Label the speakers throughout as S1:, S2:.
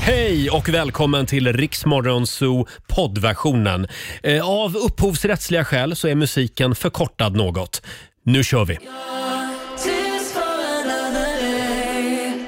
S1: Hej och välkommen till Riksmorgon Zoo poddversionen. Eh, Av upphovsrättsliga skäl så är musiken förkortad något. Nu kör vi!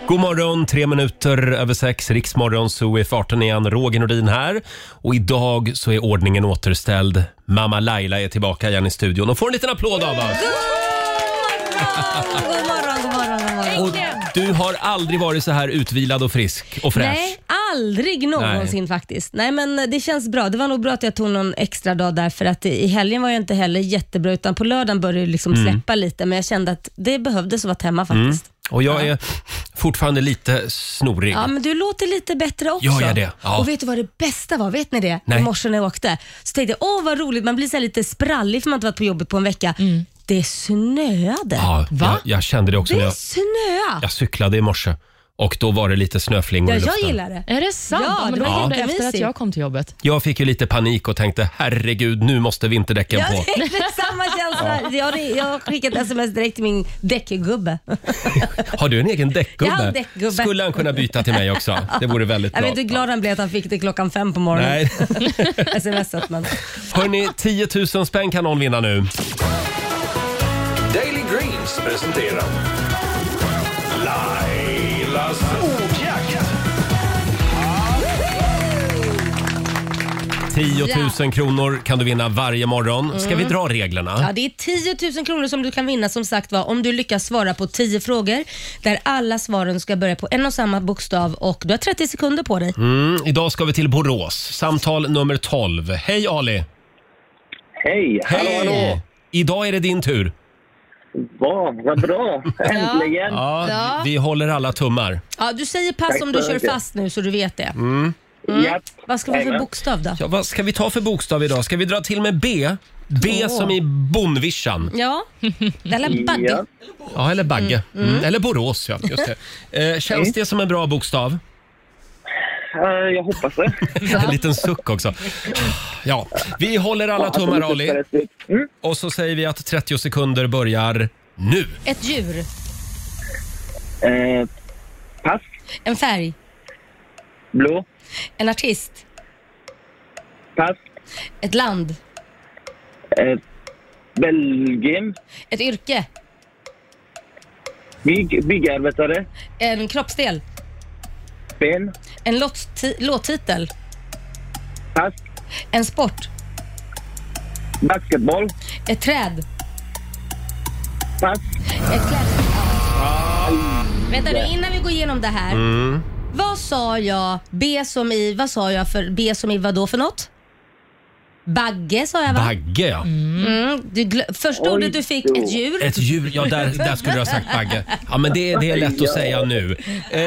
S1: God morgon, tre minuter över sex. Riksmorgon Zoo är farten igen. Roger Nordin här. Och idag så är ordningen återställd. Mamma Laila är tillbaka igen i studion och får en liten applåd av oss.
S2: God morgon, god morgon, god morgon.
S1: Och du har aldrig varit så här utvilad och frisk och fräsch.
S2: Nej, aldrig någonsin faktiskt. Nej, men det känns bra. Det var nog bra att jag tog någon extra dag där för att i helgen var jag inte heller jättebra utan på lördagen började det liksom
S1: Mm.
S2: släppa lite men jag kände att det behövdes att vara hemma faktiskt.
S1: Och jag är fortfarande lite snorig.
S2: Ja, men du låter lite bättre också.
S1: Gör jag det? Ja.
S2: Och vet du vad det bästa var? Vet ni det?
S1: Nej.
S2: I morse när jag åkte så tänkte jag, åh vad roligt, man blir så här lite sprallig för man inte varit på jobbet på en vecka. Det snöade.
S1: Ja,
S3: Va?
S1: Jag, jag kände det också när jag,
S2: Det snöade.
S1: jag cyklade i morse och då var det lite snöflingor
S2: Ja,
S1: i
S2: jag
S1: luften.
S2: gillar det.
S3: Är det sant?
S2: Ja,
S3: men
S2: det
S3: då
S2: var
S3: gjorde jag
S2: jättemysigt.
S3: efter att jag kom till jobbet.
S1: Jag fick ju lite panik och tänkte herregud, nu måste vinterdäcken
S2: Ja,
S1: på.
S2: det är exakt samma känsla. Jag, har- jag har skickat sms direkt till min däckgubbe.
S1: Har du en egen däckgubbe?
S2: Jag har en däckgubbe.
S1: Skulle han kunna byta till mig också? Det vore väldigt
S2: Jag
S1: bra.
S2: vet inte hur glad han blev att han fick det klockan fem på morgonen.
S1: Nej.
S2: Smsat men.
S1: Hörni, 10 000 spänn kan någon vinna nu.
S4: Daily Greens presenterar Lailas ordjakt.
S1: 10 000 kronor kan du vinna varje morgon. Ska vi dra reglerna?
S2: Mm. Ja, det är 10 000 kronor som du kan vinna som sagt var om du lyckas svara på 10 frågor där alla svaren ska börja på en och samma bokstav och du har 30 sekunder på dig.
S1: Mm, idag ska vi till Borås. Samtal nummer 12. Hej Ali!
S5: Hej!
S1: Hej! Idag är det din tur.
S5: Vad vad bra! Äntligen!
S1: Ja, Vi vi håller alla tummar.
S2: Ja, du säger pass
S5: Tack
S2: om du
S5: så
S2: kör
S5: mycket.
S2: fast nu så du vet det.
S1: Mm.
S5: Mm. Japp.
S2: Vad ska vi ha för
S5: Jajamän.
S2: bokstav då?
S1: Ja, vad ska vi ta för bokstav idag? Ska vi dra till med B? B
S2: Åh.
S1: som i Bonvischan.
S2: Ja, eller bagge.
S5: Ja.
S1: Ja, eller Bagge. Mm. Eller Borås, ja. Just det. Eh, känns det som en bra bokstav?
S5: Eh, Jag hoppas det.
S1: En liten suck också. Ja, vi håller alla tummar, Ali.
S5: Mm.
S1: Och så säger vi att 30 sekunder börjar nu.
S2: Ett djur,
S5: Eh, Pass.
S2: en färg,
S5: Blå.
S2: en artist,
S5: Pass.
S2: ett land,
S5: Eh, Belgien.
S2: ett yrke,
S5: Bygg, byggarbetare.
S2: en kroppsdel,
S5: Ben.
S2: en låtsti- låttitel,
S5: Pass.
S2: en sport,
S5: Basketboll.
S2: ett träd,
S5: Pass.
S2: ett klädsel.
S1: Ah.
S2: Vänta nu, innan vi går igenom det här.
S1: Mm.
S2: Vad sa jag? B som i, vad sa jag för, B som i vad då för något? Bagge sa jag va?
S1: Bagge, ja.
S2: Mm, du glö- första
S5: Oj
S2: ordet du fick,
S5: då.
S2: ett djur.
S1: Ett djur. Ja, där, där skulle du ha sagt Bagge. Ja, men det, det är lätt att säga nu. Eh,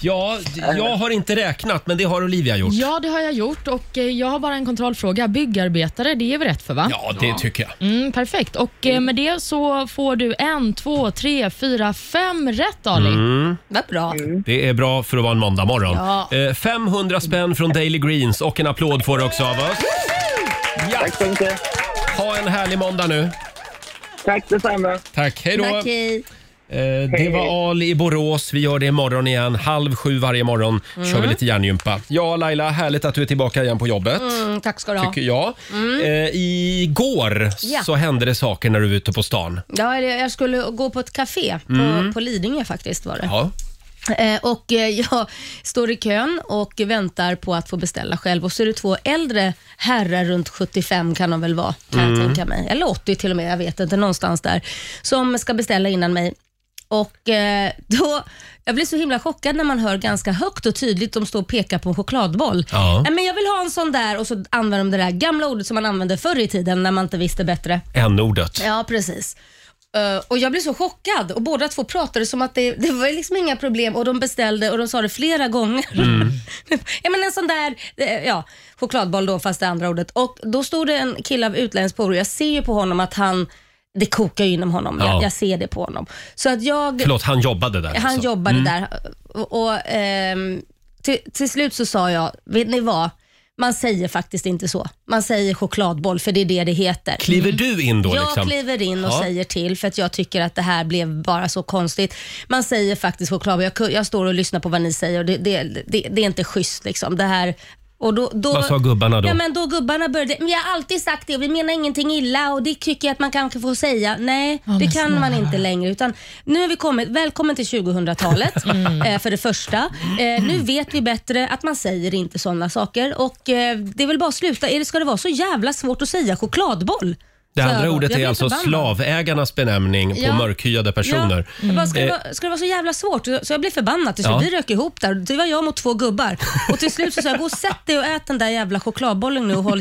S1: ja, jag har inte räknat, men det har Olivia gjort.
S3: Ja, det har jag gjort och eh, jag har bara en kontrollfråga. Byggarbetare, det är väl rätt för va?
S1: Ja, det tycker jag.
S3: Mm, perfekt. Och eh, med det så får du en, två, tre, fyra, fem rätt Ali.
S2: Mm. Vad bra.
S5: Mm.
S1: Det är bra för att vara en måndag morgon.
S3: Ja.
S1: Eh, 500 spänn från Daily Greens och en applåd får du också av oss. Ja,
S5: Tack så mycket.
S1: ha en härlig måndag nu.
S5: Tack detsamma.
S1: Tack, hej då.
S2: Tack, hej.
S1: Eh, det var Ali i Borås. Vi gör det imorgon igen. Halv sju varje morgon
S2: Mm.
S1: kör vi lite hjärngympa. Ja, Laila, härligt att du är tillbaka igen på jobbet.
S2: Mm, tack ska du ha.
S1: Tycker jag. Eh, igår
S2: Ja.
S1: så hände det saker när du var ute på stan.
S2: Ja, eller jag skulle gå på ett café på, på Lidingö faktiskt var det.
S1: Mm. Ja.
S2: Eh, Och eh, jag står i kön och väntar på att få beställa själv och så är det två äldre herrar runt 75 kan de väl vara, kan jag tänka mig. Eller 80 till och med, jag vet inte, någonstans där. Som ska beställa innan mig. Och eh, då, jag blir så himla chockad när man hör ganska högt och tydligt de står och pekar på en chokladboll.
S1: Ja.
S2: Nej, Men jag vill ha en sån där och så använder de det där gamla ordet som man använde förr i tiden när man inte visste bättre.
S1: N-ordet.
S2: Ja, precis. Eh, och jag blev så chockad och båda två pratade som att det, det var liksom inga problem och de beställde och de sa det flera gånger.
S1: Mm.
S2: ja, men en sån där eh, ja, chokladboll då, fast det andra ordet. Och då stod det en kille av utländsk påbrå, jag ser ju på honom att han, det kokar ju inom honom.
S1: Ja.
S2: Jag, jag ser det på honom. Så att jag...
S1: Förlåt, han jobbade där.
S2: Han
S1: alltså.
S2: jobbade där. Och, och, ehm, till, till slut så sa jag, vet ni vad? Man säger faktiskt inte så. Man säger chokladboll, för det är det det heter.
S1: Kliver du in då?
S2: jag
S1: liksom?
S2: kliver in och
S1: Ja.
S2: säger till för att jag tycker att det här blev bara så konstigt. Man säger faktiskt choklad, jag, ku- jag står och lyssnar på vad ni säger och det, det, det, det är inte schysst. Liksom. Det här, och då, då,
S1: Vad sa gubbarna då?
S2: Ja, men då gubbarna började, men jag har alltid sagt det och vi menar ingenting illa och det tycker jag att man kanske får säga. Nej,
S3: men
S2: det kan man
S3: snälla.
S2: inte längre. Utan nu har vi kommit, välkommen till 2000-talet
S3: Mm.
S2: eh, för det första. Eh, nu vet vi bättre att man säger inte sådana saker och eh, det är väl bara att sluta. Är det- Ska det vara så jävla svårt att säga chokladboll?
S1: Det
S2: Så
S1: andra
S2: jag-
S1: ordet
S2: jag
S1: är
S2: blir
S1: alltså
S2: förbannad.
S1: slavägarnas benämning på
S2: Ja. Mm.
S1: mörkhyade personer.
S2: Ja. Jag bara, ska, det
S1: Eh.
S2: vara, ska det vara så jävla svårt? Så jag blev förbannad till slut.
S1: Ja.
S2: Vi rök ihop där. Det var jag mot två gubbar. Och till slut så sa jag, gå och sätt dig och ät den där jävla chokladbollen nu och håll...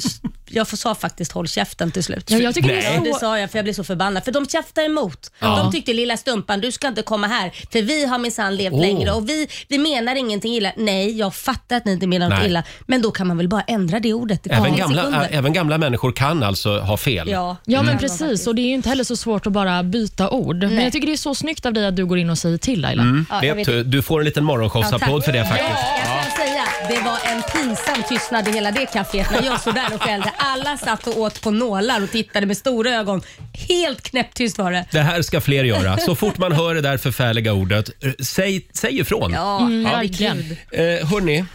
S2: Jag får- sa faktiskt håll käften till slut.
S3: Ja, jag tycker det
S1: Nej.
S3: är
S2: Ja, det
S3: så...
S2: sa jag för jag blev så förbannad. För de tjaftade emot. De tyckte lilla stumpan du ska inte komma här för vi har minsann levt
S1: Åh.
S2: längre och vi, vi menar ingenting illa. Nej, jag fattar att ni inte menar något
S1: Nej.
S2: illa. Men då kan man väl bara ändra det ordet. Det
S1: Även, gamla, ä, även gamla människor kan alltså ha fel.
S2: Ja. Mm.
S3: Ja, men precis. Och Det är ju inte heller så svårt att bara byta ord. Men jag tycker det är så snyggt av dig att du går in och säger till, Laila.
S2: Ja, jag
S1: Vet
S2: vet.
S1: du, du får en liten morgonshowsapplåd för det faktiskt.
S2: Ja, jag kan säga, det var en pinsam tystnad i hela det kaféet när jag stod där och skällde. Alla satt och åt på nålar och tittade med stora ögon. Helt knäpptyst var det.
S1: Det här ska fler göra. Så fort man hör det där förfärliga ordet, eh, säg, säg ifrån.
S2: Ja,
S3: Mm, verkligen.
S2: herregud.
S1: Eh, hörni,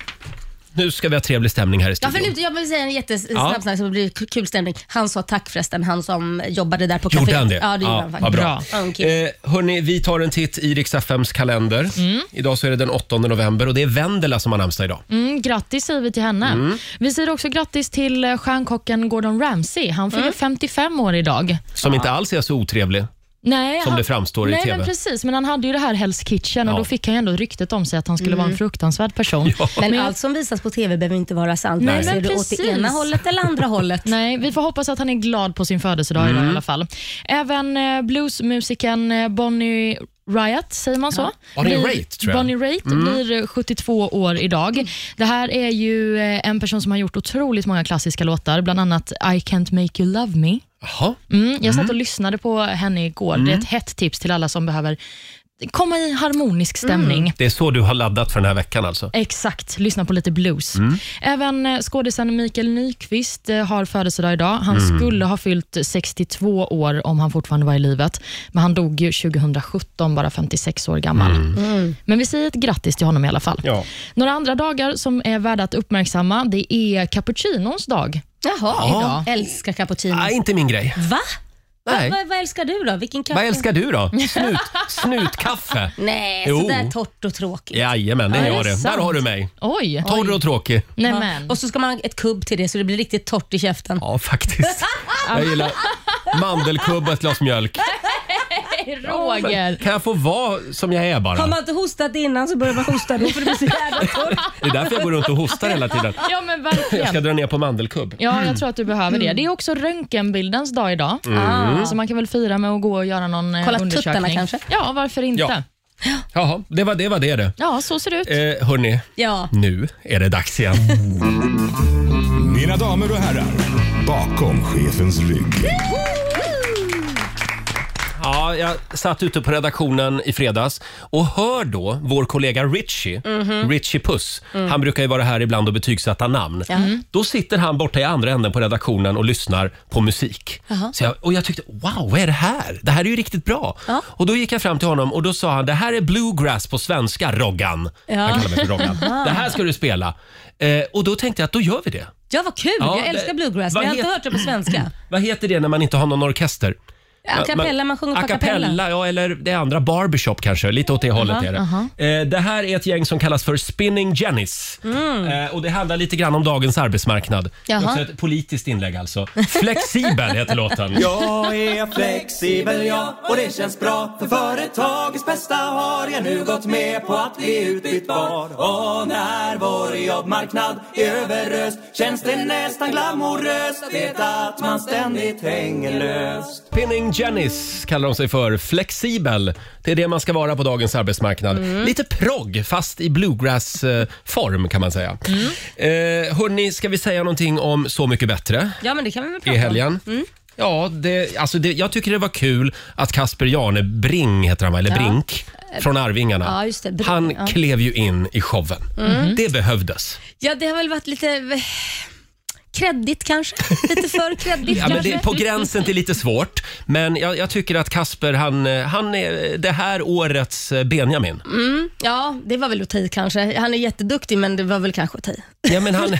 S1: nu ska vi ha trevlig stämning här i
S2: Ja,
S1: studion.
S2: förlåt, jag vill säga en jättesnabb
S1: Ja.
S2: snack så det blir k- kul stämning. Han sa tack förresten, han som jobbade där på
S1: Gjorde
S2: kaféet.
S1: han det?
S2: Ja, det gjorde
S1: Ja,
S2: han
S1: vad
S2: faktiskt.
S1: bra.
S2: Ja, en kille.
S1: Eh, hörni, vi tar en titt i Rix FMs kalender.
S2: Mm.
S1: Idag så är det den 8 november och det är Vendela som har namnsdag idag.
S3: Mm, grattis säger vi till henne.
S1: Mm.
S3: Vi säger också grattis till eh, stjärnkocken Gordon Ramsay. Han
S1: Mm.
S3: fyller 55 år idag.
S1: Som inte alls är så otrevlig.
S3: Nej,
S1: Som det framstår i
S3: nej,
S1: TV.
S3: Men precis, men han hade ju det här Hell's Kitchen och
S1: Ja. Mm.
S3: då fick han ju ändå ryktet om sig att han skulle vara en fruktansvärd person.
S2: Men allt som visas på TV behöver inte vara sant.
S3: Nej,
S2: Vare sig
S3: men
S2: det är åt
S3: precis.
S2: det ena hållet eller andra hållet.
S3: Nej, vi får hoppas att han är glad på sin födelsedag idag
S1: Mm.
S3: i alla fall. Även eh, bluesmusikern eh, Bonnie Riot, säger man så?
S1: Bonnie
S3: Blir-
S1: Raitt, tror jag. Mm.
S3: Bonnie Raitt blir eh, 72 år idag. Det här är ju eh, en person som har gjort otroligt många klassiska låtar, bland annat I Can't Make You Love Me.
S1: Jaha.
S3: Mm, jag satt och lyssnade på henne igår. Det är ett hett tips till alla som behöver komma i harmonisk stämning.
S1: Det är så du har laddat för den här veckan
S3: Mm.
S1: alltså?
S3: Exakt, lyssna på lite blues. Även eh, skådisen Mikael Nyqvist eh, har födelsedag idag. Han skulle ha fyllt 62 år om han fortfarande var i livet, men han dog ju 2017, bara 56 år gammal. Men vi säger ett grattis till honom i alla fall.
S1: Ja.
S3: Några andra dagar som är värda att uppmärksamma, det är cappuccinons dag.
S2: Jaha,
S1: Ja.
S2: älskar cappuccino.
S1: Nej, inte min grej.
S2: Va?
S1: Nej.
S2: Va, va? Vad älskar du då? Vilken kaffe?
S1: Vad älskar du då? Snut, snutkaffe?
S2: Nej,
S1: Jo.
S2: sådär torrt och tråkigt.
S1: Jajamän, det är
S3: Mm. Ja,
S1: jag
S3: det är
S1: det. Där
S3: sant.
S1: har du mig.
S3: Oj!
S1: Torr och tråkig.
S3: Nej,
S2: Ja.
S3: men.
S2: Och så ska man ha ett kubb till det så det blir riktigt torrt i käften.
S1: Ja, faktiskt. Jag gillar mandelkubb och ett glas mjölk.
S3: Roger!
S1: Kan jag få vara som jag är
S2: Har
S1: bara?
S2: man inte hostat innan så börjar man hosta då för det blir så jävla torrt.
S1: Det är därför jag går runt och hostar hela tiden.
S3: Ja, men
S1: Jag ska
S3: verkligen.
S1: dra ner på mandelkubb.
S3: Ja, jag tror att du behöver det. Det är också röntgenbildens dag idag,
S1: Mm.
S3: så man kan väl fira med att gå och göra någon eh,
S2: Kolla
S3: undersökning.
S2: tuttarna kanske?
S3: Ja, varför inte?
S1: Ja.
S3: Ja,
S1: Jaha, det var det var det. det.
S3: så ser det ut.
S1: Eh, hörni,
S2: Ja.
S1: nu är det dags igen.
S4: Mina damer och herrar, bakom chefens rygg.
S1: Ja, jag satt ute på redaktionen i fredags och hör då vår kollega Richie, Richie Puss. Han brukar ju vara här ibland och betygsätta namn. Då sitter han borta i andra änden på redaktionen och lyssnar på musik. Så jag, och jag tyckte, wow, vad är det här? Det här är ju riktigt bra. Och då gick jag fram till honom och då sa han, det här är bluegrass på svenska, Roggan. Han kallar mig för Roggan. det här ska du spela. Eh, och då tänkte jag att då gör vi det.
S2: Ja, vad kul.
S1: Ja,
S2: jag älskar
S1: det-
S2: bluegrass,
S1: vad
S2: men jag har inte
S1: het-
S2: hört det på svenska.
S1: Vad heter det när man inte har någon orkester?
S2: A cappella, man sjunger på
S1: a cappella. Ja, eller det andra, barbershop kanske. Lite åt det hållet är det. Eh, det här är ett gäng som kallas för Spinning Jennies. Eh, och det handlar lite grann om dagens arbetsmarknad. Det är
S2: Mm. Jaha.
S1: Också ett politiskt inlägg alltså. Flexibel heter låten.
S6: Jag är flexibel jag och det känns bra för företagets bästa har jag nu gått med på att bli utbytbar och när vår jobbmarknad är överöst känns det nästan glamoröst vet att man ständigt hänger löst
S1: Spinning Jennies kallar de sig för. Flexibel. Det är det man ska vara på dagens arbetsmarknad.
S2: Mm.
S1: Lite progg, fast i bluegrass-form kan man säga.
S2: Mm.
S1: Eh, hörni, ska vi säga någonting om Så mycket bättre?
S2: Ja, men det kan vi väl prata
S1: i
S2: om.
S1: helgen. Ja, det, alltså det, jag tycker det var kul att Kasper Janebring, heter han va? Eller Brink, från Arvingarna.
S2: Ja, just det. Brink,
S1: han
S2: ja. Mm.
S1: klev ju in i showen. Det behövdes.
S2: Ja, det har väl varit lite... eh, Kreddigt kanske? Lite för kreddigt
S1: Ja, men
S2: kanske?
S1: det är på gränsen till lite svårt. Men jag, jag tycker att Kasper, han, eh, han är det här årets eh, Benjamin.
S2: Ja, det var väl att ta i kanske. Han är jätteduktig men det var väl kanske att ta i.
S1: Ja, men han,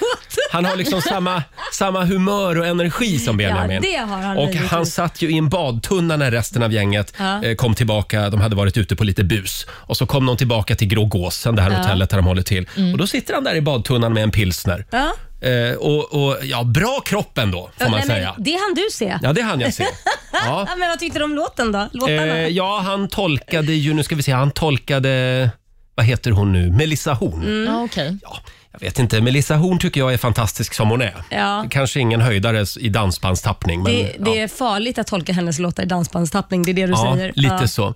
S1: han har liksom samma, samma humör och energi som Benjamin.
S2: Ja, det har han
S1: och
S2: möjligtvis.
S1: han satt ju i en badtunna när resten av gänget
S2: Ja.
S1: eh, kom tillbaka. De hade varit ute på lite bus. Och så kom de tillbaka till Grå Gåsen, det här hotellet där de håller till. Och då sitter han där i badtunnan med en pilsner.
S2: Mm. Ja.
S1: Eh, och, och ja, bra kropp ändå, får man
S2: Nej, men
S1: säga.
S2: Det hann du se. Ja.
S1: Ja, det hann jag se. Ja.
S2: men vad tyckte du om låten då? Låtarna?
S1: Eh, ja, han tolkade ju, nu ska vi se, han tolkade, vad heter hon nu, Melissa Horn.
S3: Ja, okej.
S1: Ja, jag vet inte, Melissa Horn tycker jag är fantastisk som hon är.
S2: Ja.
S1: Kanske ingen höjdare i dansbandstappning, men
S2: det, det
S1: ja.
S2: är farligt att tolka hennes låtar i dansbandstappning, det är det du
S1: Ja,
S2: säger.
S1: lite
S2: ja. Mm.
S1: så.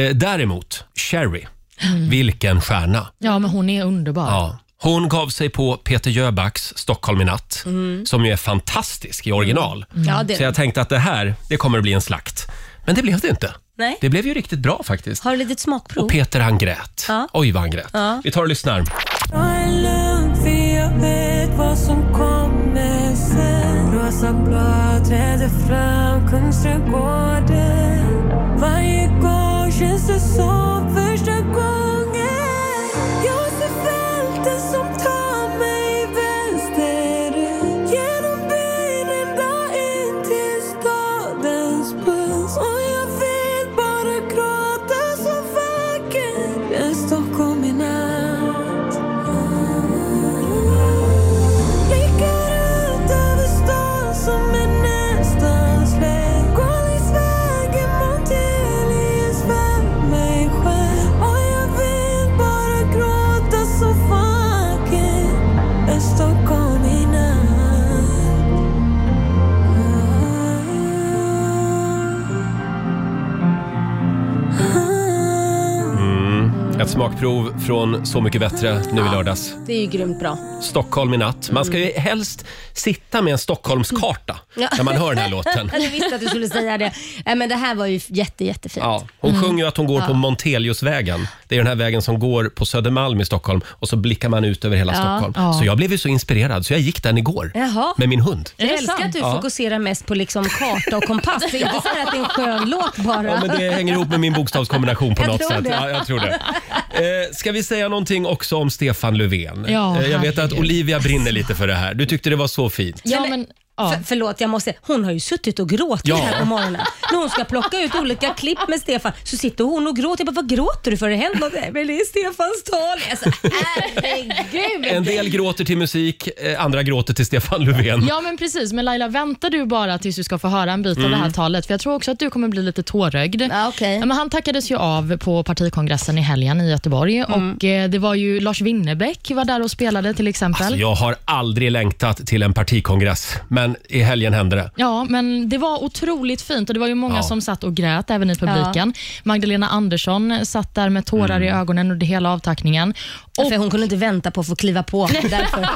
S1: Eh, däremot, Sherry, vilken stjärna.
S3: Ja, men hon är underbar.
S1: Ja. Hon gav sig på Peter Jöbacks Stockholm i natt, som ju är fantastisk i original.
S2: Mm. Ja, det-
S1: Mm. Så jag tänkte att det här, det kommer att bli en slakt. Men det blev det inte.
S2: Nej.
S1: Det blev ju riktigt bra faktiskt.
S2: Har du litet smakprov?
S1: Och Peter han grät.
S2: Ja.
S1: Oj vad han grät.
S2: Ja.
S1: Vi tar och lyssnar.
S7: Ta en lugn, för jag vet vad som kommer sen. Rosa blad träder fram, Kungsträdgården. Varje gång känns det som första gången. Jag ser fälten som tar mig vänsterut. Genom byn ända in till stadens puls. Och jag vill bara gråta så vackert. Jag är Stockholm i natt. Blickar ut över stan som är nästan släckt. Går längs vägen mot helgens vän mig själv. Och jag vill bara gråta så vackert. Är Stockholm i natt. Ah.
S1: Ett smakprov från Så mycket bättre nu i lördags.
S2: Det är ju grymt bra.
S1: Stockholm i natt. Man ska ju helst sitta med en Stockholmskarta
S2: Mm. Ja.
S1: när man hör den här låten.
S2: Jag visste att du skulle säga det. Nej, men det här var ju jätte, jättefint.
S1: Ja, hon sjunger ju att hon går på Monteliusvägen. Det är den här vägen som går på Södermalm i Stockholm och så blickar man ut över hela
S2: Ja.
S1: Stockholm.
S3: Ja.
S1: Så jag blev ju så inspirerad så jag gick den igår
S2: Jaha.
S1: med min hund.
S2: Jag
S3: Är det
S2: älskar
S3: sant?
S2: att du
S1: Ja.
S2: fokuserar mest på liksom karta och kompass. Det är inte så här att det är en skön låt bara.
S1: Ja, men det hänger ihop med min bokstavskombination på
S2: Jag
S1: något
S2: tror
S1: sätt.
S2: det.
S1: Ja, jag tror det. Eh, ska vi säga någonting också om Stefan Löfven?
S3: Ja,
S1: eh, jag vet att
S3: herregud.
S1: Olivia brinner lite för det här. Du tyckte det var så fint.
S3: Ja,
S2: Nej, men-
S3: men, ja.
S2: För, förlåt, jag måste Hon har ju suttit och gråtit
S1: Ja.
S2: här på morgonen. När hon ska plocka ut olika klipp med Stefan så sitter hon och gråter. Jag bara, vad gråter du för? Har Det hänt något? Nej, men det är Stefans tal. Alltså, herregud.
S1: En del gråter till musik, eh, andra gråter till Stefan Löfven.
S3: Ja, men precis. Men Laila, väntar du bara tills du ska få höra en bit av det
S1: Mm.
S3: här talet? För jag tror också att du kommer bli lite tårögd.
S2: Ja, okej.
S3: men han tackades ju av på partikongressen i helgen i Göteborg
S2: Mm.
S3: och eh, det var ju Lars Winnerbäck var där och spelade till exempel.
S1: Alltså, jag har aldrig längtat till en partikongress, men i helgen hände det.
S3: Ja, men det var otroligt fint och det var ju många
S1: Ja.
S3: som satt och grät även i publiken. Magdalena Andersson satt där med tårar i ögonen under hela avtackningen. Och,
S2: För hon kunde inte vänta på att få kliva på. Därför.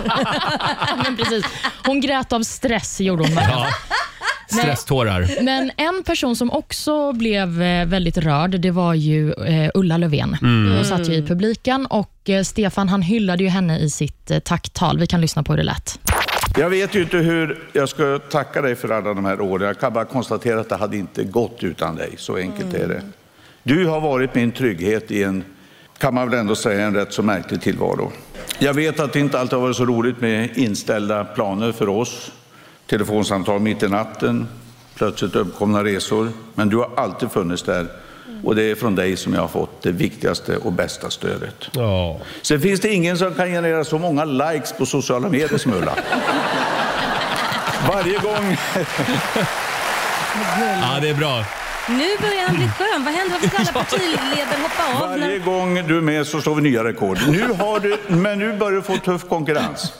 S3: men precis, hon grät av stress, gjorde hon. Magda.
S1: Ja. Stresstårar.
S3: Men en person som också blev eh, väldigt rörd, det var ju eh, Ulla Löfven. Hon satt ju i publiken och eh, Stefan han hyllade ju henne i sitt eh, tacktal. Vi kan lyssna på hur det lät.
S8: Jag vet ju inte hur jag ska tacka dig för alla de här åren. Jag kan bara konstatera att det hade inte gått utan dig. Så enkelt är det. Du har varit min trygghet i en, kan man väl ändå säga, en rätt så märklig tillvaro. Jag vet att det inte alltid har varit så roligt med inställda planer för oss. Telefonsamtal mitt i natten, plötsligt uppkomna resor. Men du har alltid funnits där. Och det är från dig som jag har fått det viktigaste och bästa stödet.
S1: Ja.
S8: Sen finns det ingen som kan generera så många likes på sociala medier som Ulla. Varje gång...
S1: ja, det är bra.
S2: Nu börjar han bli skön. Vad händer? Varför ska alla partiledare hoppa av?
S8: Varje
S2: När...
S8: gång du är med så slår vi nya rekord. Nu har du, men nu börjar du få tuff konkurrens.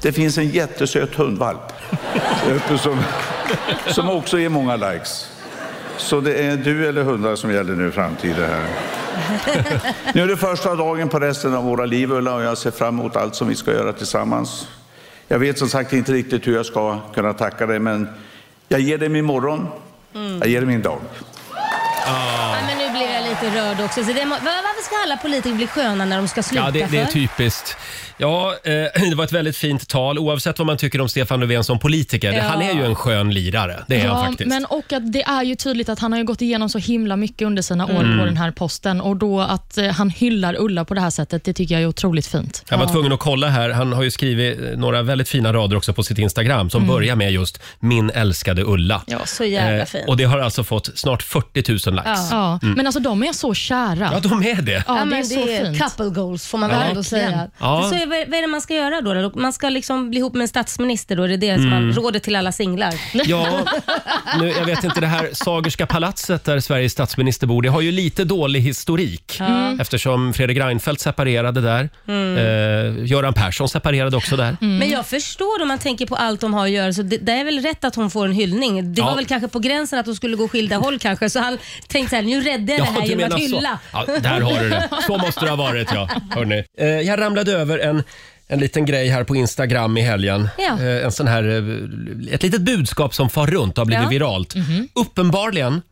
S8: Det finns en jättesöt hundvalp uppe som, som också ger många likes. Så det är du eller hundar som gäller nu i framtiden här. Nu är det första dagen på resten av våra liv Ulla och jag ser fram emot allt som vi ska göra tillsammans. Jag vet som sagt inte riktigt hur jag ska kunna tacka dig men jag ger dig min morgon, jag ger dig min dag.
S2: Ja, men nu blev jag lite rörd också. Så det må... Va- Varför ska alla politiker bli sköna när de ska sluta?
S1: Ja, det, det är
S2: för?
S1: typiskt. Ja, eh, det var ett väldigt fint tal oavsett vad man tycker om Stefan Löfven som politiker.
S3: Ja.
S1: Han är ju en skön lirare, det är han faktiskt.
S3: men och att det är ju tydligt att han har ju gått igenom så himla mycket under sina år
S1: Mm.
S3: på den här posten och då att eh, han hyllar Ulla på det här sättet, det tycker jag är otroligt fint.
S1: Jag var tvungen att kolla här. Han har ju skrivit eh, några väldigt fina rader också på sitt Instagram som börjar med just “Min älskade Ulla”.
S2: Mm. Ja, så jävla
S1: Eh,
S2: fint.
S1: Och det har alltså fått snart 40 000 likes. Ja,
S3: Ja, men alltså de är så kära. Ja,
S1: de är det.
S3: det är
S2: men
S3: så fint.
S2: couple goals får man väl ändå
S3: Verkligen.
S2: säga.
S1: Ja.
S2: Så är, vad vad är det man ska göra då? då? Man ska liksom bli ihop med en statsminister då? Är det det som
S1: Mm.
S2: man råder till alla singlar?
S1: Ja, nu, jag vet inte, det här Sagerska palatset där Sveriges statsminister bor, det har ju lite dålig historik eftersom Fredrik Reinfeldt separerade där. Eh, Göran Persson separerade också där.
S2: Men jag förstår om man tänker på allt de har att göra, så det, det är väl rätt att hon får en hyllning. Det
S1: Ja.
S2: var väl kanske på gränsen att de skulle gå skilda håll kanske, så han tänkte såhär, nu räddar jag det här
S1: du
S2: genom att
S1: menar
S2: hylla.
S1: Så. Ja, där har du det. Så måste det ha varit, ja. Hörrni. Eh, jag ramlade över en, en liten grej här på Instagram i helgen.
S2: Ja.
S1: Eh, en sån här, eh, ett litet budskap som far runt och har blivit
S2: Ja. Mhm.
S1: viralt. Uppenbarligen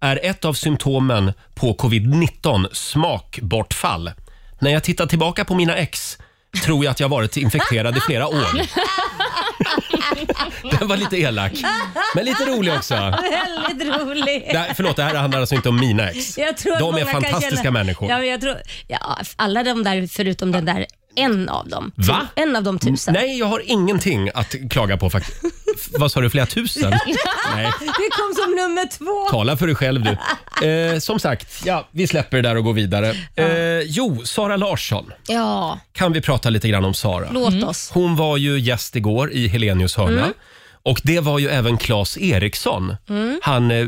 S1: är ett av symptomen på covid-19 smakbortfall. När jag tittar tillbaka på mina ex tror jag att jag varit infekterad i flera år. Den var lite elak, men lite rolig också.
S2: Väldigt roligt.
S1: Det här, förlåt, det här handlar alltså inte om mina ex.
S2: Jag tror att
S1: De
S2: många
S1: är
S2: kan
S1: fantastiska
S2: känna,
S1: människor.
S2: Ja, men jag tror, ja, alla de där förutom den där, en av dem.
S1: Va?
S2: En av de tusen.
S1: Nej, jag har ingenting att klaga på faktiskt. F- Vad sa du, flera tusen? Nej,
S2: Det kom som nummer två.
S1: tala för dig själv du. Eh, som sagt, ja, vi släpper det där och går vidare. Eh, jo, Sara Larsson.
S2: Ja,
S1: Kan vi prata lite grann om Sara?
S2: låt oss.
S1: Hon var ju gäst igår i Helenius hörna.
S2: Mm.
S1: Och det var ju även Claes Eriksson, han, eh,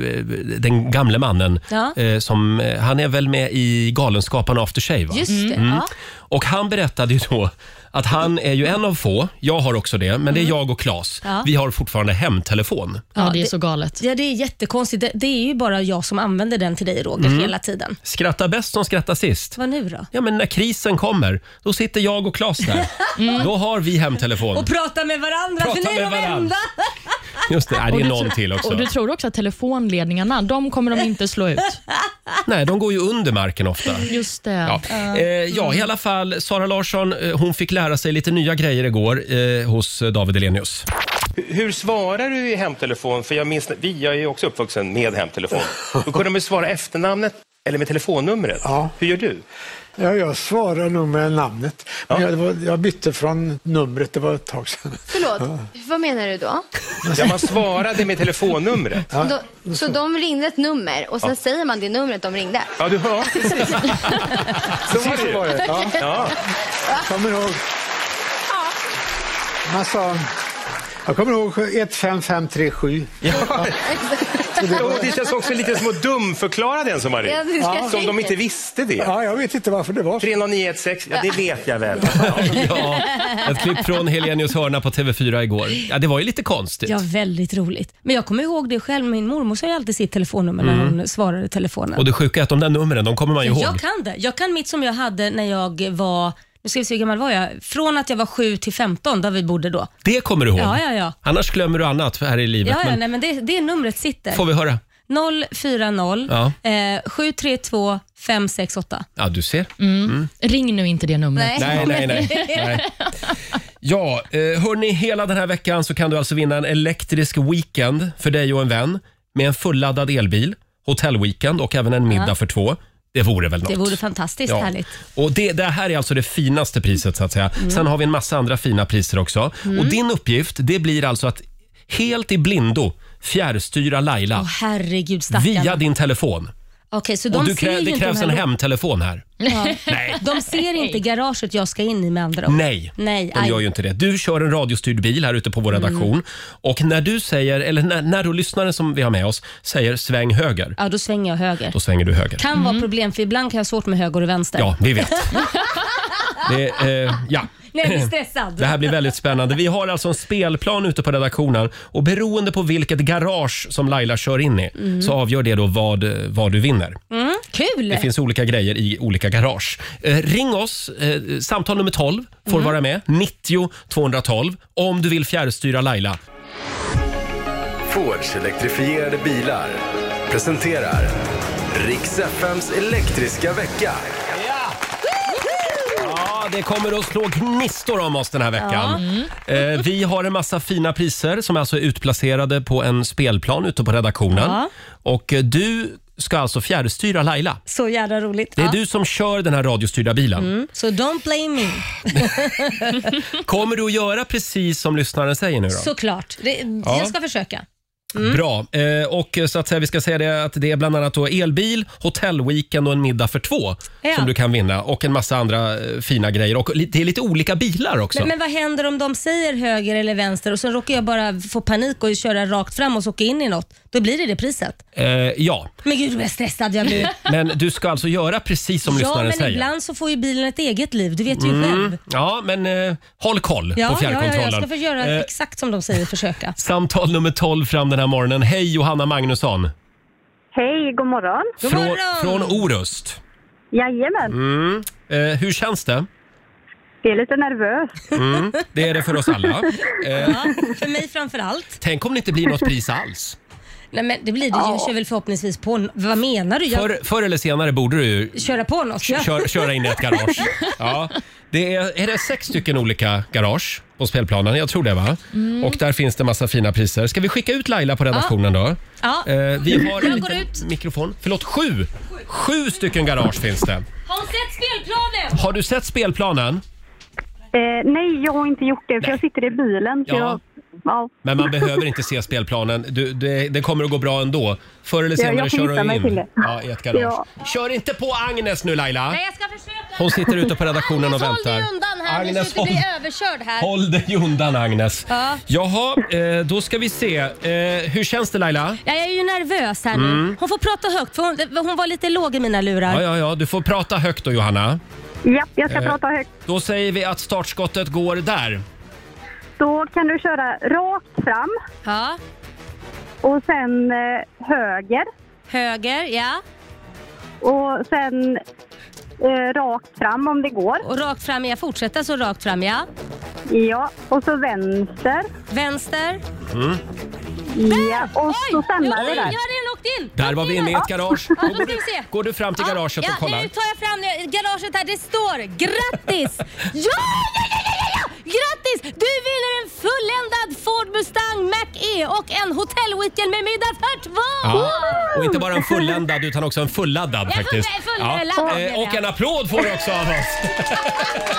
S1: den gamle mannen.
S2: Mm. Ja.
S1: Eh, som, eh, han är väl med i Galenskaparna After Shave? Va?
S2: Just det. Ja.
S1: Och han berättade ju då att han är ju en av få, jag har också det, men det är jag och Claes.
S2: Ja.
S1: Vi har fortfarande hemtelefon.
S3: Ja, det är
S2: det-
S3: så galet.
S2: ja, det är jättekonstigt. Det, det är ju bara jag som använder den till dig Roger hela tiden.
S1: Skratta bäst som skrattar sist.
S2: Mm. Vad nu då?
S1: Ja, men när krisen kommer, då sitter jag och Claes där. Då har vi hemtelefon.
S2: Och prata med varandra,
S1: Prata
S2: för ni är
S1: med
S2: de
S1: varandra.
S2: enda.
S1: Just det, nej, det är
S3: du
S1: någon
S3: tro-
S1: till också.
S3: Och du tror också att telefonledningarna, de kommer de inte slå ut.
S1: Nej, de går ju under marken ofta.
S3: Just det.
S1: Ja. Eh, ja, i alla fall. Sara Larsson eh, hon fick lära sig lite nya grejer igår eh, hos eh, David Elenius.
S9: Hur svarar du i hemtelefon? För jag minns, vi, jag är ju också uppvuxen med hemtelefon. Då kunde man ju svara efternamnet eller med telefonnumret.
S10: Ja.
S9: Hur gör du?
S10: Ja, jag svarar nog med namnet. Men
S9: Ja.
S10: jag, det var, jag bytte från numret, det var ett tag sedan.
S11: Förlåt, vad menar du då?
S9: Ja, man svarade med telefonnumret.
S11: då så de ringde ett nummer och sen säger man det numret de ringde?
S9: Ja, du hör. Precis. Så var det
S10: Så
S9: ju.
S10: var det. Ja,
S9: Ja.
S10: kommer ihåg. Man sa, jag kommer ihåg 15537.
S9: Ja. Och det känns också lite som att dumförklara den som har
S11: Ja,
S9: ringt.
S11: det ska jag
S9: Som de
S11: tänka.
S9: inte visste det.
S10: Ja, jag vet inte varför det var så.
S9: 30916, ja det vet jag väl.
S1: Ja, ett klipp från Helenius hörna på TV4 igår. Ja, det var ju lite konstigt.
S2: Ja, väldigt roligt. Men jag kommer ihåg det själv. Min mormor sa ju alltid sitt telefonnummer när hon svarade i telefonen.
S1: Och det sjuka är att de där numren, de kommer man ju ihåg.
S2: Jag kan Mm. det. Jag kan mitt som jag hade när jag var, nu ska vi se hur gammal var jag? Från att jag var 7 till 15 där vi bodde då.
S1: Det kommer du ihåg.
S2: Ja, ja, ja.
S1: Annars glömmer du annat här i livet.
S2: Ja, ja
S1: men
S2: nej, men det, det numret sitter.
S1: Får vi höra?
S2: 040
S1: Ja.
S2: eh, 732 568.
S1: Ja, du ser.
S2: Mm.
S3: Ring nu inte det numret.
S2: Nej.
S1: Nej, nej, nej. nej. Ja, eh, hörni, hela den här veckan så kan du alltså vinna en elektrisk weekend för dig och en vän med en fulladdad elbil, hotellweekend och även en middag för två. Det vore väl något?
S2: Det vore fantastiskt
S1: Ja.
S2: härligt. Mm.
S1: Och det, det här är alltså det finaste priset så att säga. Sen har vi en massa andra fina priser också. Och din uppgift, det blir alltså att helt i blindo fjärrstyra Laila
S2: Åh herregud stackarn.
S1: via din telefon.
S2: Okej, så
S1: Och
S2: de
S1: du
S2: ser
S1: krä,
S2: ju
S1: det
S2: inte de
S1: krävs
S2: här
S1: en
S2: lo-
S1: hemtelefon här.
S2: Ja.
S1: Nej.
S2: De ser inte garaget jag ska in i med andra ord.
S1: Nej,
S2: Nej,
S1: Mm. de
S2: aj. Mm.
S1: gör ju inte det. Du kör en radiostyrd bil här ute på vår redaktion. Och när du säger, eller när, när du lyssnaren som vi har med oss säger sväng höger,
S2: Ja, då svänger jag höger.
S1: då svänger du höger.
S2: Kan vara problem för ibland kan jag ha svårt med höger och vänster.
S1: Mm. Ja, vi vet. Det, eh, ja.
S2: Nej, jag blir stressad.
S1: Det här blir väldigt spännande. Vi har alltså en spelplan ute på redaktionen och beroende på vilket garage som Laila kör in i
S2: Mm.
S1: så avgör det då vad, vad du vinner.
S2: Kul!
S1: Det finns olika grejer i olika garage. Eh, ring oss. Eh, samtal nummer 12 får
S2: Mm.
S1: vara med. 90 212 om du vill fjärrstyra Laila.
S12: Fords elektrifierade bilar presenterar Riks-FMs elektriska vecka.
S1: Ja, det kommer att slå gnistor om oss den här veckan.
S2: Mm.
S1: Eh, vi har en massa fina priser som alltså är utplacerade på en spelplan ute på redaktionen.
S2: Ja.
S1: Och eh, du ska alltså fjärrstyra Laila.
S2: Så jävla roligt.
S1: Det är
S2: Ja.
S1: du som kör den här radiostyrda bilen.
S2: Mm. Så don't blame me.
S1: Kommer du att göra precis som lyssnaren säger nu då?
S2: Såklart. Det,
S1: Ja.
S2: Jag ska försöka. Mm.
S1: Bra. Eh, och så att säga, vi ska säga det att det är bland annat då elbil, hotellweekend och en middag för två
S2: Ja.
S1: som du kan vinna och en massa andra eh, fina grejer. Och li- det är lite olika bilar också.
S2: Men, men vad händer om de säger höger eller vänster och så råkar jag bara få panik och köra rakt fram och så åka in i något? Då blir det det priset.
S1: Eh, ja,
S2: Men gud vad stressad jag blir.
S1: men du ska alltså göra precis som
S2: ja,
S1: lyssnaren
S2: men
S1: säger. Mm.
S2: ibland så får ju bilen ett eget liv. Du vet ju själv.
S1: Ja, men eh, håll koll
S2: Ja,
S1: på
S2: ja, ja, jag ska
S1: fjärrkontrollen.
S2: få göra
S1: Eh,
S2: exakt som de säger, försöka.
S1: Samtal nummer 12 fram den här morgonen. Hej Johanna Magnusson!
S13: Hej, god morgon.
S1: Från, från Orust.
S13: Jajamän,
S1: Mm. Eh, hur känns det?
S13: det är lite nervöst.
S1: Mm. Det är det för oss alla. Eh,
S2: Ja, för mig framför allt.
S1: tänk om det inte blir något pris alls?
S2: Nej, men det blir det. Jag kör väl förhoppningsvis på... n- Vad menar du? Jag...
S1: Förr, förr eller senare borde du ju
S2: Köra på något? Ja.
S1: kör, köra in i ett garage. Ja. Det är, är det sex stycken olika garage på spelplanen? Jag tror det va?
S2: Mm.
S1: Och där finns det massa fina priser. Ska vi skicka ut Laila på redaktionen då?
S2: Ja.
S1: Eh, vi har en
S2: Jag går
S1: liten
S2: ut.
S1: mikrofon. Förlåt, sju! Sju stycken garage finns det.
S2: Har hon sett spelplanen?
S1: Har du sett spelplanen?
S13: Eh, nej, jag har inte gjort det för jag sitter i bilen. Så
S1: Ja.
S13: Jag, ja.
S1: Men man behöver inte se spelplanen. Du, det, det kommer att gå bra ändå. Förr eller
S13: Ja, jag
S1: senare
S13: får
S1: kör
S13: hitta
S1: du
S13: mig till
S1: in
S13: det.
S1: ja, i ett garage.
S13: Ja.
S1: Kör inte på Agnes nu Laila!
S2: jag ska försöka.
S1: Hon sitter ute på redaktionen och
S2: Håll dig
S1: väntar.
S2: undan här, Agnes,
S1: Agnes,
S2: så du inte blir
S1: håll-
S2: överkörd här.
S1: Håll dig undan Agnes.
S2: Ja.
S1: Jaha, eh, då ska vi se. Eh, hur känns det Laila?
S2: Ja, jag är ju nervös här nu.
S1: Mm.
S2: Hon får prata högt för hon, hon var lite låg i mina lurar.
S1: Ja, ja, ja. Du får prata högt då Johanna.
S13: ja, jag ska
S1: Eh,
S13: prata högt.
S1: Då säger vi att startskottet går där.
S13: Då kan du köra rakt fram.
S2: Ja.
S13: Och sen eh, höger.
S2: Höger, ja.
S13: Och sen eh, rakt fram om det går.
S2: Och rakt fram, jag fortsätter så rakt fram, ja.
S13: Ja, och så vänster.
S2: Vänster.
S1: Mm.
S13: Ja, och så stannar det
S2: Ja,
S13: där.
S2: jag har redan åkt in.
S1: Där var vi inne i ett garage.
S2: Ja, då
S1: Då
S2: ska
S1: går
S2: vi se.
S1: du, går du fram till garaget
S2: Ja,
S1: och kollar?
S2: nu tar jag fram det. garaget här. Det står grattis! Ja, ja, ja, ja, ja, ja! Grattis! Du vinner en fulländad Ford Mustang Mach-E och en hotellweekend med middag för två!
S1: Ja. Och inte bara en fulländad utan också en fulladdad
S2: Ja, full-
S1: faktiskt.
S2: fulladdad menar
S1: Eh,
S2: jag.
S1: Och en applåd får du också av oss.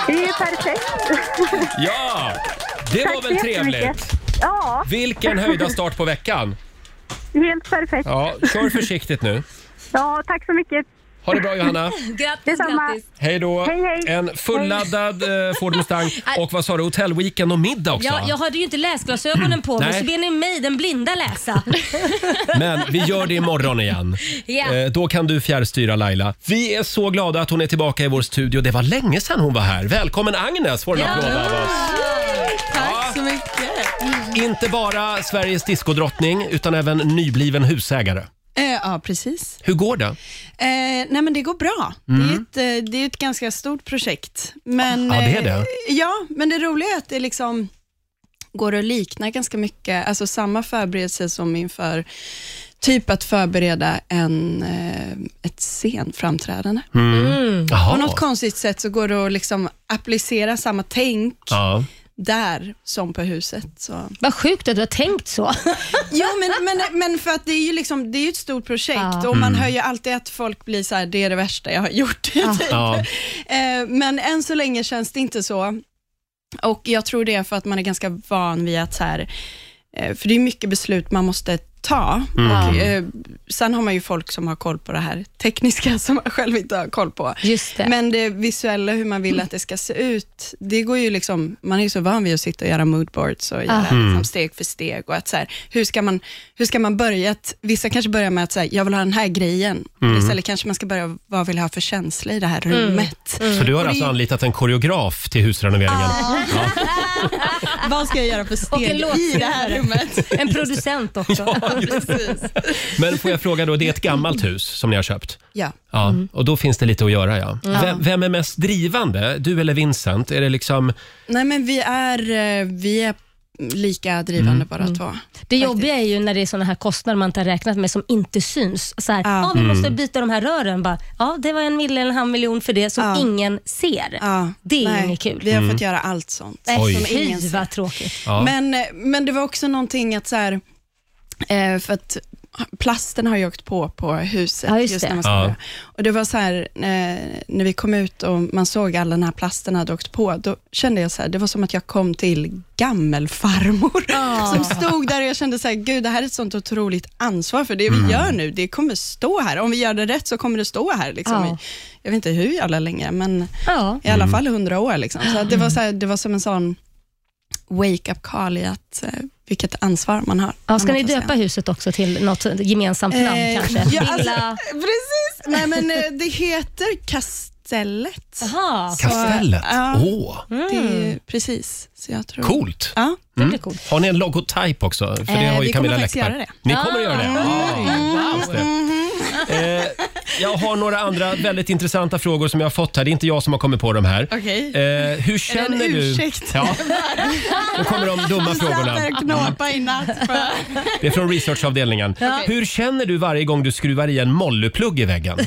S13: Det är ju perfekt.
S1: Ja, det
S13: Tack
S1: var
S13: så
S1: väl
S13: jättemycket.
S1: trevligt.
S13: Ja.
S1: Vilken höjda start på veckan.
S13: Helt perfekt.
S1: Ja, kör försiktigt nu.
S13: Ja, tack så mycket.
S1: Ha det bra, Johanna.
S2: Grattis,
S13: Detsamma. grattis.
S1: Hej då.
S13: Hej, hej.
S1: En fulladdad eh, Ford Mustang och vad sa du, hotellweekend och middag också.
S2: Ja, jag hade ju inte läsglasögonen på mig
S1: Nej.
S2: så ber ni mig, den blinda, läsa.
S1: Men vi gör det imorgon igen.
S2: Ja.
S1: Eh, då kan du fjärrstyra Laila. Vi är så glada att hon är tillbaka i vår studio. Det var länge sedan hon var här. Välkommen Agnes får en applåd av oss.
S14: Tack så mycket.
S1: Inte bara Sveriges diskodrottning utan även nybliven husägare.
S14: Eh, ja, precis.
S1: Hur går det?
S14: Eh, nej, men det går bra.
S1: Mm.
S14: Det, är ett, eh, det är ett ganska stort projekt. Men,
S1: Ja, det är det.
S14: eh, Ja, men det roliga är att det liksom går att likna ganska mycket, alltså samma förberedelse som inför typ att förbereda en, eh, ett scenframträdande.
S1: Mm. Mm. Jaha.
S14: På något konstigt sätt så går det att liksom applicera samma tänk
S1: Ja.
S14: där som på huset. Så.
S2: Vad sjukt att du har tänkt så.
S14: ja, men, men, men för att det är ju liksom, det är ju ett stort projekt
S2: Ja.
S14: och man
S2: Mm.
S14: hör ju alltid att folk blir så här, det är det värsta jag har gjort. Typ.
S1: Ja.
S14: Eh, Men än så länge känns det inte så. Och jag tror det är för att man är ganska van vid att så här, eh, för det är mycket beslut man måste ta.
S7: Mm.
S14: Och,
S7: Ja.
S14: eh, sen har man ju folk som har koll på det här tekniska som man själv inte har koll på.
S2: Just det.
S14: Men det visuella, hur man vill att det ska se ut, det går ju liksom, man är ju så van vid att sitta och göra moodboards och göra
S7: Mm.
S14: liksom steg för steg och att så här, hur ska man, hur ska man börja? Att, vissa kanske börjar med att så här, jag vill ha den här grejen,
S1: Mm.
S14: istället kanske man ska börja, vad vill jag ha för känsla i det här rummet?
S1: Så du
S14: Och
S1: har
S14: det är
S1: alltså
S14: ju-
S1: anlitat en koreograf till husrenoveringen?
S14: Vad ska jag göra för
S2: Och en
S14: steg
S2: låt
S14: i det här rummet?
S2: En producent också.
S1: Men får jag fråga då, det är ett gammalt hus som ni har köpt?
S14: Ja.
S1: Ja, och då finns det lite att göra ja.
S14: Mm.
S1: Vem, vem är mest drivande? Du eller Vincent? Är det liksom...
S14: Nej men vi är, eh, vi är lika drivande
S2: Mm.
S14: bara två.
S2: Det jobbiga är ju när det är såna här kostnader man inte har räknat med som inte syns. Så här, ja. vi måste
S1: Mm.
S2: byta de här rören. Bara, ja, det var en miljon eller en halv miljon för det som ingen ser. Det är
S14: Nej,
S2: inget kul.
S14: Vi har fått göra allt sånt.
S2: Nej,
S14: som
S2: fy
S14: ingen ser.
S2: vad tråkigt.
S14: Men, eh, men det var också någonting att så här, eh, för att plasten har ju åkt på på huset
S2: Ja, just
S14: just,
S2: det.
S14: när man ska
S2: Ja.
S14: börja. Och det var så här, eh, när vi kom ut och man såg alla den här plasten hade åkt på, då kände jag så här, det var som att jag kom till gammelfarmor som stod där och jag kände så här, gud det här är ett sånt otroligt ansvar för det vi
S7: Mm.
S14: gör nu, det kommer stå här. Om vi gör det rätt så kommer det stå här. Liksom,
S2: Ja.
S14: i, jag vet inte hur jävla länge, men i alla
S2: Mm.
S14: fall hundra år. Liksom. Så att det, var så här, det var som en sån wake-up call i att eh, vilket ansvar man har.
S2: Ja, ska
S14: Man
S2: ni
S14: måste
S2: döpa huset också till något gemensamt namn
S14: Eh,
S2: kanske?
S14: ja, alltså,
S2: Villa-
S14: precis. Nej, men eh, det heter Kastellet.
S2: Aha. Mm.
S14: Så,
S1: Kastellet?
S14: ja,
S1: Åh.
S14: Det är ju precis. Så jag tror.
S1: Coolt.
S14: Ja, det
S1: Mm.
S14: blir coolt.
S1: Har ni en logotyp också? För det
S14: Eh,
S1: har ju
S14: vi
S1: Camilla
S14: kommer faktiskt
S1: Läckberg.
S14: göra det.
S1: Ni kommer att göra det? Ja, just det.
S14: Mhm.
S1: Eh, jag har några andra väldigt intressanta frågor som jag har fått här. Det är inte jag som har kommit på de här.
S14: Okej.
S1: Eh, hur
S14: Är det
S1: känner
S14: en
S1: du...
S14: ursäkt?
S1: Ja, nu kommer de dumma
S14: Vi satt
S1: frågorna.
S14: där och knåpade i natt. för-
S1: det är från researchavdelningen.
S14: Ja.
S1: Hur känner du varje gång du skruvar i en mollyplugg i väggen?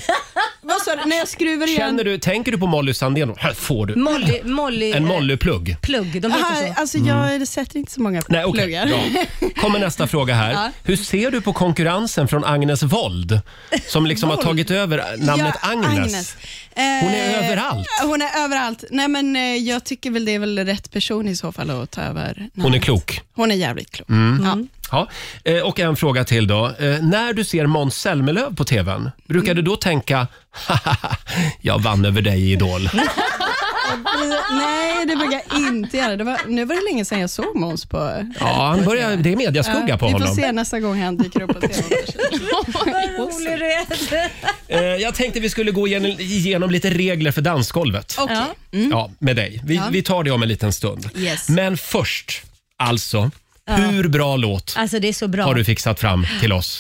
S14: Vad sa du? När jag skruvar igen?
S1: Känner du, tänker du på Molly Sandén? Här får du.
S2: Molly, Molly,
S1: En mollyplugg.
S2: Plugg, de
S14: Aha,
S2: heter så.
S14: Alltså, jag
S1: Mm.
S14: sätter inte så många
S1: Nej, okej.
S14: pluggar.
S1: Bra. Kommer nästa fråga här.
S14: Ja.
S1: Hur ser du på konkurrensen från Agnes Wold? Som liksom har
S14: Wold?
S1: tagit över namnet
S14: Ja,
S1: Agnes. Hon är
S14: Eh,
S1: överallt.
S14: Hon är överallt. Nej, men eh, jag tycker väl det är väl rätt person i så fall att ta över.
S1: Hon är klok.
S14: Hon är jävligt klok.
S1: Mm.
S14: Ja.
S1: Ja. Eh, Och en fråga till då. Eh, När du ser Måns Zelmerlöw på TVn, brukar du då tänka "Hahaha, jag vann över dig i Idol?
S14: Nej, det brukar jag inte göra. Det var, nu var det länge sedan jag såg Måns på...
S1: Ja, han börjar, det är mediaskugga på
S14: vi
S1: honom.
S14: får se nästa gång han dyker upp på TV. Vad rolig
S2: du är.
S1: Eh, Jag tänkte vi skulle gå igenom, igenom lite regler för dansgolvet.
S14: Okej.
S1: Ja, med dig. Vi,
S2: Mm. Ja.
S1: vi tar det om en liten stund.
S2: Yes.
S1: Men först, alltså.
S2: Ja.
S1: Hur bra låt
S2: Alltså det är så bra.
S1: har du fixat fram till oss?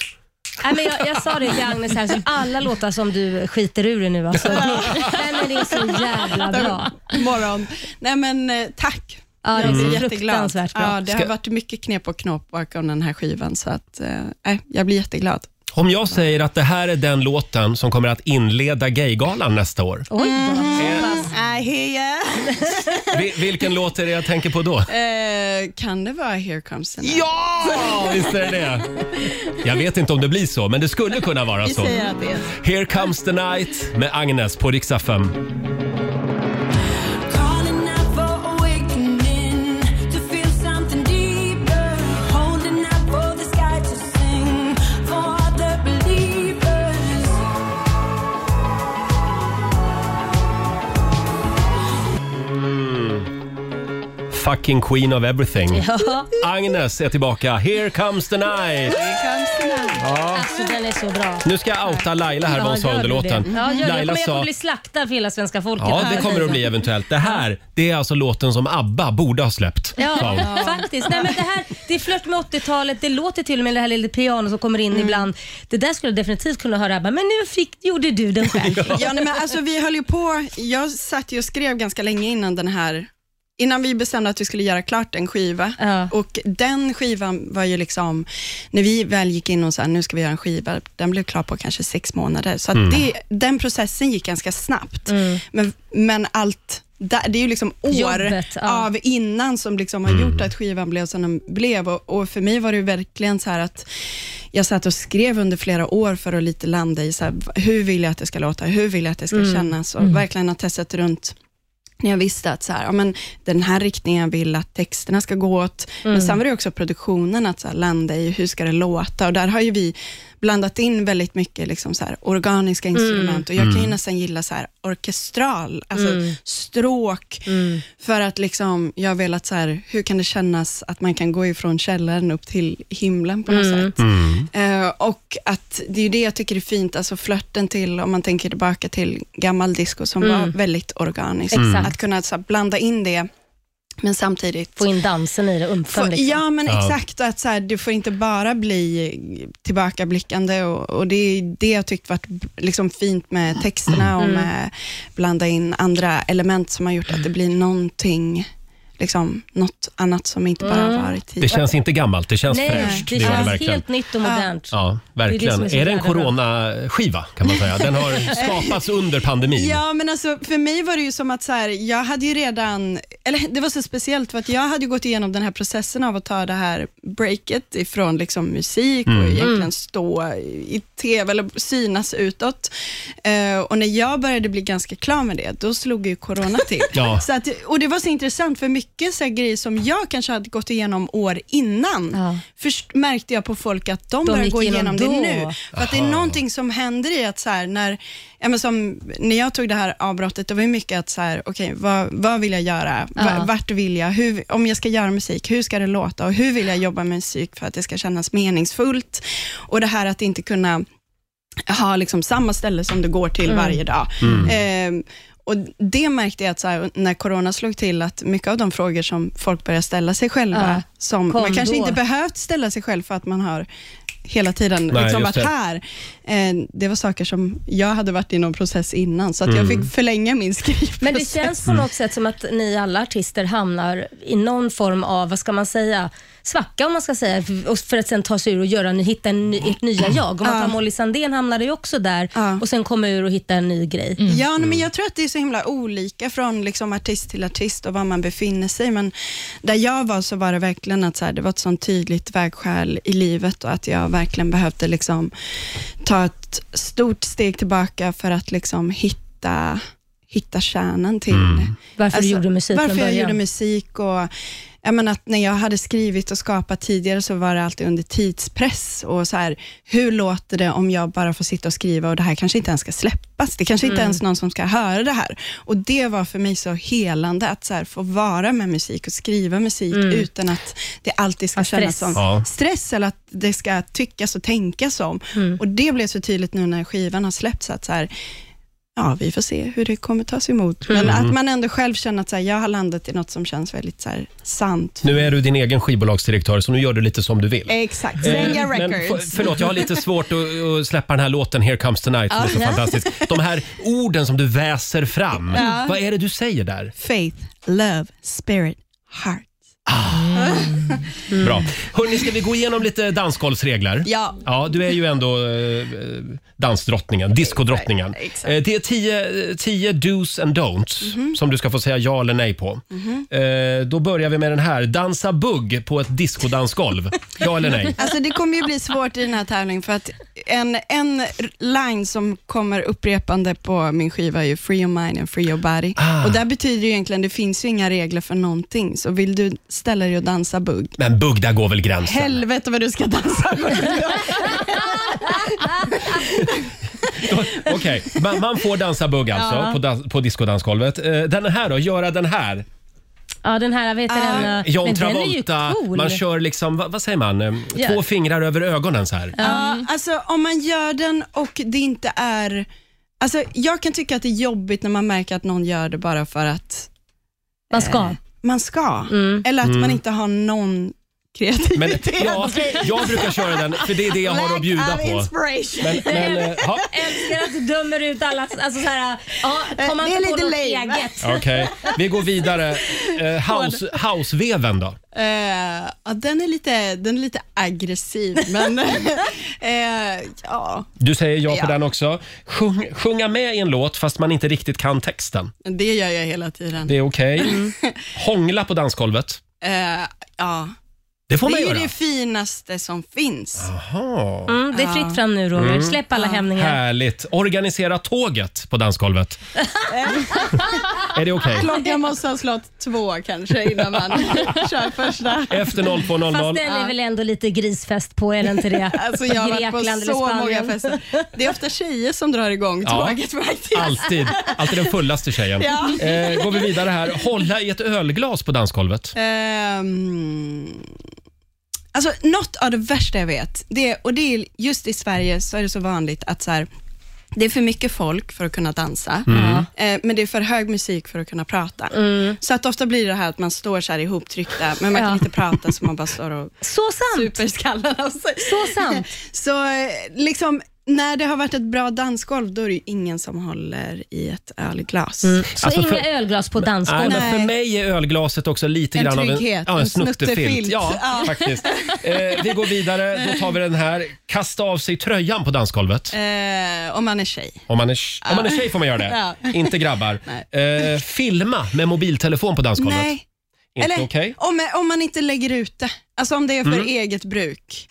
S2: Nej, men jag, jag sa det till Agnes här, så alla låtar som du skiter ur dig nu alltså. Det, nej, men det är så jävla bra.
S14: Morgon. Nej men eh, tack.
S2: Ja, det
S14: jag
S2: är
S14: är
S2: så
S14: Mm. jätteglad.
S2: fruktansvärt bra.
S14: Ja, det har
S1: Ska-
S14: varit mycket knep och knåp bakom den här skivan, så att, eh, nej, jag blir jätteglad.
S1: Om jag säger att det här är den låten som kommer att inleda Gaygalan nästa år.
S2: Oj då.
S14: I hear
S1: Vi- Vilken låt är det jag tänker på då?
S14: Eh, kan det vara Here comes the night?
S1: Ja! Visst är det det? Jag vet inte om det blir så, men det skulle kunna vara
S14: Vi
S1: så.
S14: säger att det är
S1: Here comes the night med Agnes på riksdag 5.
S7: Calling out for awakening to feel something deeper. Holding out for the sky to sing for all the believers.
S1: Mm. Fucking queen of everything.
S2: Ja.
S1: Agnes är tillbaka. Here comes the night! Ja.
S2: Alltså den är så bra.
S1: Nu ska jag outa Laila här vad hon sa
S2: gör
S1: under
S2: du
S1: låten.
S2: det? Ja, gör det. Jag
S1: Laila
S2: kommer, jag kommer
S1: sa...
S2: bli slaktad för hela svenska folket.
S1: Ja, det kommer det att bli eventuellt. Det här, det är alltså låten som ABBA borde ha släppt. sa hon.
S2: Ja, faktiskt. Nej, men det, här, det är flört med 80-talet. Det låter till och med det här lilla piano som kommer in
S14: Mm.
S2: ibland. Det där skulle jag definitivt kunna höra ABBA, men nu fick, gjorde du den själv.
S14: Ja, nej, men alltså, vi höll ju på, jag satt ju och skrev ganska länge innan den här, innan vi bestämde att vi skulle göra klart en skiva. Och den skivan var ju liksom, när vi väl gick in och sa nu ska vi göra en skiva, den blev klar på kanske sex månader. Så att
S7: Mm.
S14: det, den processen gick ganska snabbt.
S2: Mm.
S14: Men, men allt, där- det är ju liksom år
S2: Jobbet, ja.
S14: av innan som liksom har
S2: Mm.
S14: gjort att skivan blev som den blev. Och, och för mig var det ju verkligen så här att jag satt och skrev under flera år för att lite landa i så här, v- hur vill jag att det ska låta, hur vill jag att det ska
S2: Mm.
S14: kännas och
S2: Mm.
S14: verkligen har testat runt när jag visste att så här, ja, men den här riktningen jag vill att texterna ska gå åt. Men
S2: Mm.
S14: sen var det också produktionen att så här, landa i, hur ska det låta? Och där har ju vi blandat in väldigt mycket liksom så här, organiska
S2: Mm.
S14: instrument. Och jag kan ju
S2: Mm.
S14: nästan gilla så här, orkestral, alltså
S2: Mm.
S14: stråk. För att liksom, jag har velat så här, hur kan det kännas att man kan gå ifrån källaren upp till himlen på något
S2: Mm.
S14: sätt? Eh, och att det är ju det jag tycker är fint, alltså flörten till, om man tänker tillbaka till gammal disco som
S2: Mm.
S14: var väldigt organisk.
S2: Exakt.
S1: Mm.
S14: Att kunna så här, blanda in det, men samtidigt
S2: Få in dansen i det, umfan
S14: Få-
S2: liksom.
S14: Ja, men
S2: Ja.
S14: exakt. Och att så här, det får inte bara bli tillbakablickande. Och, och det är det jag tyckt varit b- liksom fint med texterna och
S2: Mm.
S14: med blanda in andra element som har gjort att det blir någonting liksom, något annat som inte bara
S2: Mm.
S14: har varit tidigare.
S1: Det känns inte gammalt, det känns
S14: Nej,
S1: fräscht.
S14: det
S1: gör
S14: känns
S1: verkligen.
S14: helt
S2: nytt och modernt.
S1: Ja,
S14: Det är
S1: verkligen.
S14: det som är
S1: är,
S14: så
S1: det en
S14: jävla bra.
S1: coronaskiva kan man säga? Den har skapats under pandemin.
S14: Ja, men alltså, för mig var det ju som att så här, jag hade ju redan, eller det var så speciellt för att jag hade ju gått igenom den här processen av att ta det här breaket ifrån liksom musik
S7: Mm.
S14: och
S7: Mm.
S14: egentligen stå i tv eller synas utåt. Eh, och när jag började bli ganska klar med det, då slog ju corona till.
S7: Ja.
S14: så att, och det var så intressant för mycket så här grejer som jag kanske hade gått igenom år innan, Mm. först märkte jag på folk att de,
S2: De
S14: börjar
S2: gick
S14: gå
S2: igenom
S14: igenom det
S2: då.
S14: nu. För att det är
S2: Aha.
S14: någonting någonting som händer i att så här, när, ja, men som, när jag tog det här avbrottet, det var ju mycket att så här, okej, vad, vad vill jag göra? Va-
S7: Ja.
S14: Vart vill jag? Hur, om jag ska göra musik, hur ska det låta? Och hur vill jag jobba med musik för att det ska kännas meningsfullt? Och det här att inte kunna ha liksom samma ställe som du går till
S7: Mm.
S14: varje dag.
S7: Mm.
S14: Ehm, och Det märkte jag att så här, när corona slog till, att mycket av de frågor som folk börjar ställa sig själva,
S7: Ja.
S14: som
S7: Kom
S14: man kanske
S7: då.
S14: inte behövt ställa sig själv för att man har hela tiden
S7: Nej,
S14: liksom
S7: just
S14: varit
S7: det.
S14: här. Eh, det var saker som jag hade varit i någon process innan, så att jag
S2: Mm.
S14: fick förlänga min skrivprocess.
S2: Men det känns på något sätt som att ni alla artister hamnar i någon form av, vad ska man säga, svacka om man ska säga, och för att sen ta sig ur och göra, en ny- hitta en ny, ert nya jag. Om man
S14: Ja.
S2: tar Molly Sandén hamnade ju också där och sen komma ur och hitta en ny grej.
S14: Mm. Ja, nej, men jag tror att det är så himla olika från liksom artist till artist och var man befinner sig. Men där jag var så var det verkligen att så här, det var ett sånt tydligt vägskäl i livet och att jag verkligen behövde liksom ta ett stort steg tillbaka för att liksom hitta, hitta kärnan till
S2: Varför du gjorde musik
S14: alltså, Varför
S2: från
S14: jag
S2: början.
S14: gjorde musik och jag menar att när jag hade skrivit och skapat tidigare så var det alltid under tidspress och så här, hur låter det om jag bara får sitta och skriva och det här kanske inte ens ska släppas. Det kanske inte
S7: Mm.
S14: ens någon som ska höra det här. Och det var för mig så helande att så här, få vara med musik och skriva musik
S7: Mm.
S14: utan att det alltid ska
S7: Ja,
S14: kännas
S7: stress.
S14: som
S7: Ja.
S14: stress eller att det ska tyckas och tänkas om. Och det blev så tydligt nu när skivan har släppts att så här, Ja, vi får se hur det kommer tas emot. Men
S1: Mm.
S14: att man ändå själv känner att så här, jag har landat i något som känns väldigt så här, sant.
S1: Nu är du din egen skivbolagsdirektör så nu gör du lite som du vill.
S14: Exakt,
S1: Eh,
S14: Svenja
S1: men
S14: Records.
S1: för- förlåt, jag har lite svårt att, att släppa den här låten Here comes the night som är så
S14: Ja.
S1: fantastisk. De här orden som du väser fram,
S14: Ja.
S1: vad är det du säger där?
S14: Faith, love, spirit, heart.
S1: Bra. Hörni, ska vi gå igenom lite dansgolvsregler?
S14: Ja.
S1: ja. Du är ju ändå eh, dansdrottningen, diskodrottningen. Eh, det är tio, tio do's and don'ts
S2: Mhm.
S1: som du ska få säga ja eller nej på. Eh, då börjar vi med den här. Dansa bugg på ett diskodansgolv. Ja eller nej?
S14: Alltså det kommer ju bli svårt i den här tävlingen för att en, en line som kommer upprepande på min skiva är ju free your mind and free your body.
S1: Ah.
S14: Och där betyder ju egentligen, det finns ju inga regler för någonting, så vill du ställa dig och dansa bugg,
S1: Men bugg, där går väl gränsen?
S14: helvete vad du ska dansa bugg.
S1: Okej, man, man får dansa bugg alltså
S2: Ja.
S1: på, dans, på diskodansgolvet. Eh, den här då, göra den här.
S2: Ja, den här, vad heter den?
S1: John
S2: men
S1: Travolta,
S2: den är ju cool.
S1: man kör liksom, vad, vad säger man, Eh,
S14: Ja.
S1: två fingrar över ögonen så här.
S14: Ja, alltså om man gör den och det inte är... Alltså jag kan tycka att det är jobbigt när man märker att någon gör det bara för att...
S2: Man ska.
S14: man ska. Eller att man
S1: Mm.
S14: inte har någon kreativitet.
S1: Men, ja, jag brukar köra den, för det är det jag har att bjuda på. Men, men, eh, ja.
S2: Jag älskar att du dömer ut alla, alltså så här, ja,
S7: Eh,
S2: kom
S7: det
S2: inte
S7: är
S2: på
S7: lite
S2: något
S7: lame.
S2: eget.
S1: Okej, vi går vidare. Eh, house, houseveven då?
S14: Eh, ja, den, är lite, den är lite aggressiv, men eh, ja,
S1: Du säger ja på
S14: Ja.
S1: den också. Sjung, sjunga med i en låt fast man inte riktigt kan texten.
S14: det gör jag hela tiden.
S1: Det är okej. Hångla på dansgolvet.
S14: Mm. Eh, ja.
S1: Det får
S14: det
S1: man
S14: är ju
S1: göra.
S14: det finaste som finns.
S1: Jaha.
S2: Mm, det är fritt fram nu Roger,
S1: Mm.
S2: släpp alla hämningar.
S1: Härligt. Organisera tåget på dansgolvet. Är det okej?
S14: Klockan måste ha slått två kanske innan man kör första.
S1: Efter 02.00.
S2: Fast den är väl ändå lite grisfest på, är det inte det?
S14: Alltså jag har varit på
S2: Grekland eller
S14: så många
S2: Spanien.
S14: fester. Det är ofta tjejer som drar igång tåget faktiskt.
S1: Alltid. Alltid den fullaste tjejen.
S14: Ja.
S1: Eh, går vi vidare här. Hålla i ett ölglas på dansgolvet.
S14: Ehm, alltså något av det värsta jag vet, det, är- och det är just i Sverige så är det så vanligt att så här, det är för mycket folk för att kunna dansa,
S7: Mm.
S14: eh, men det är för hög musik för att kunna prata. Så att ofta blir det här att man står så här ihoptryckta, men man kan
S7: Ja.
S14: inte prata så man bara står och
S2: så sant.
S14: super skallen av sig.
S2: Så sant.
S14: så eh, liksom, När det har varit ett bra dansgolv, då är det ju ingen som håller i ett ölglas.
S2: Så inga ölglas på dansgolv?
S1: Alltså, Nej, men för mig är ölglaset också lite
S14: En
S1: grann
S14: trygghet,
S1: av en, ja, en
S14: en
S1: snuttefilt.
S14: snuttefilt.
S1: Ja,
S14: Ja.
S1: faktiskt. Eh, vi går vidare. Då tar vi den här. Kasta av sig tröjan på dansgolvet.
S14: Eh, om man är tjej.
S1: Om man är, om man är tjej får man göra det,
S14: Ja.
S1: inte grabbar. Eh, filma med mobiltelefon på dansgolvet.
S14: Nej.
S1: Inte
S14: Eller
S1: okej?
S14: om, om man inte lägger ut det. Alltså om det är för
S1: Mm.
S14: eget bruk.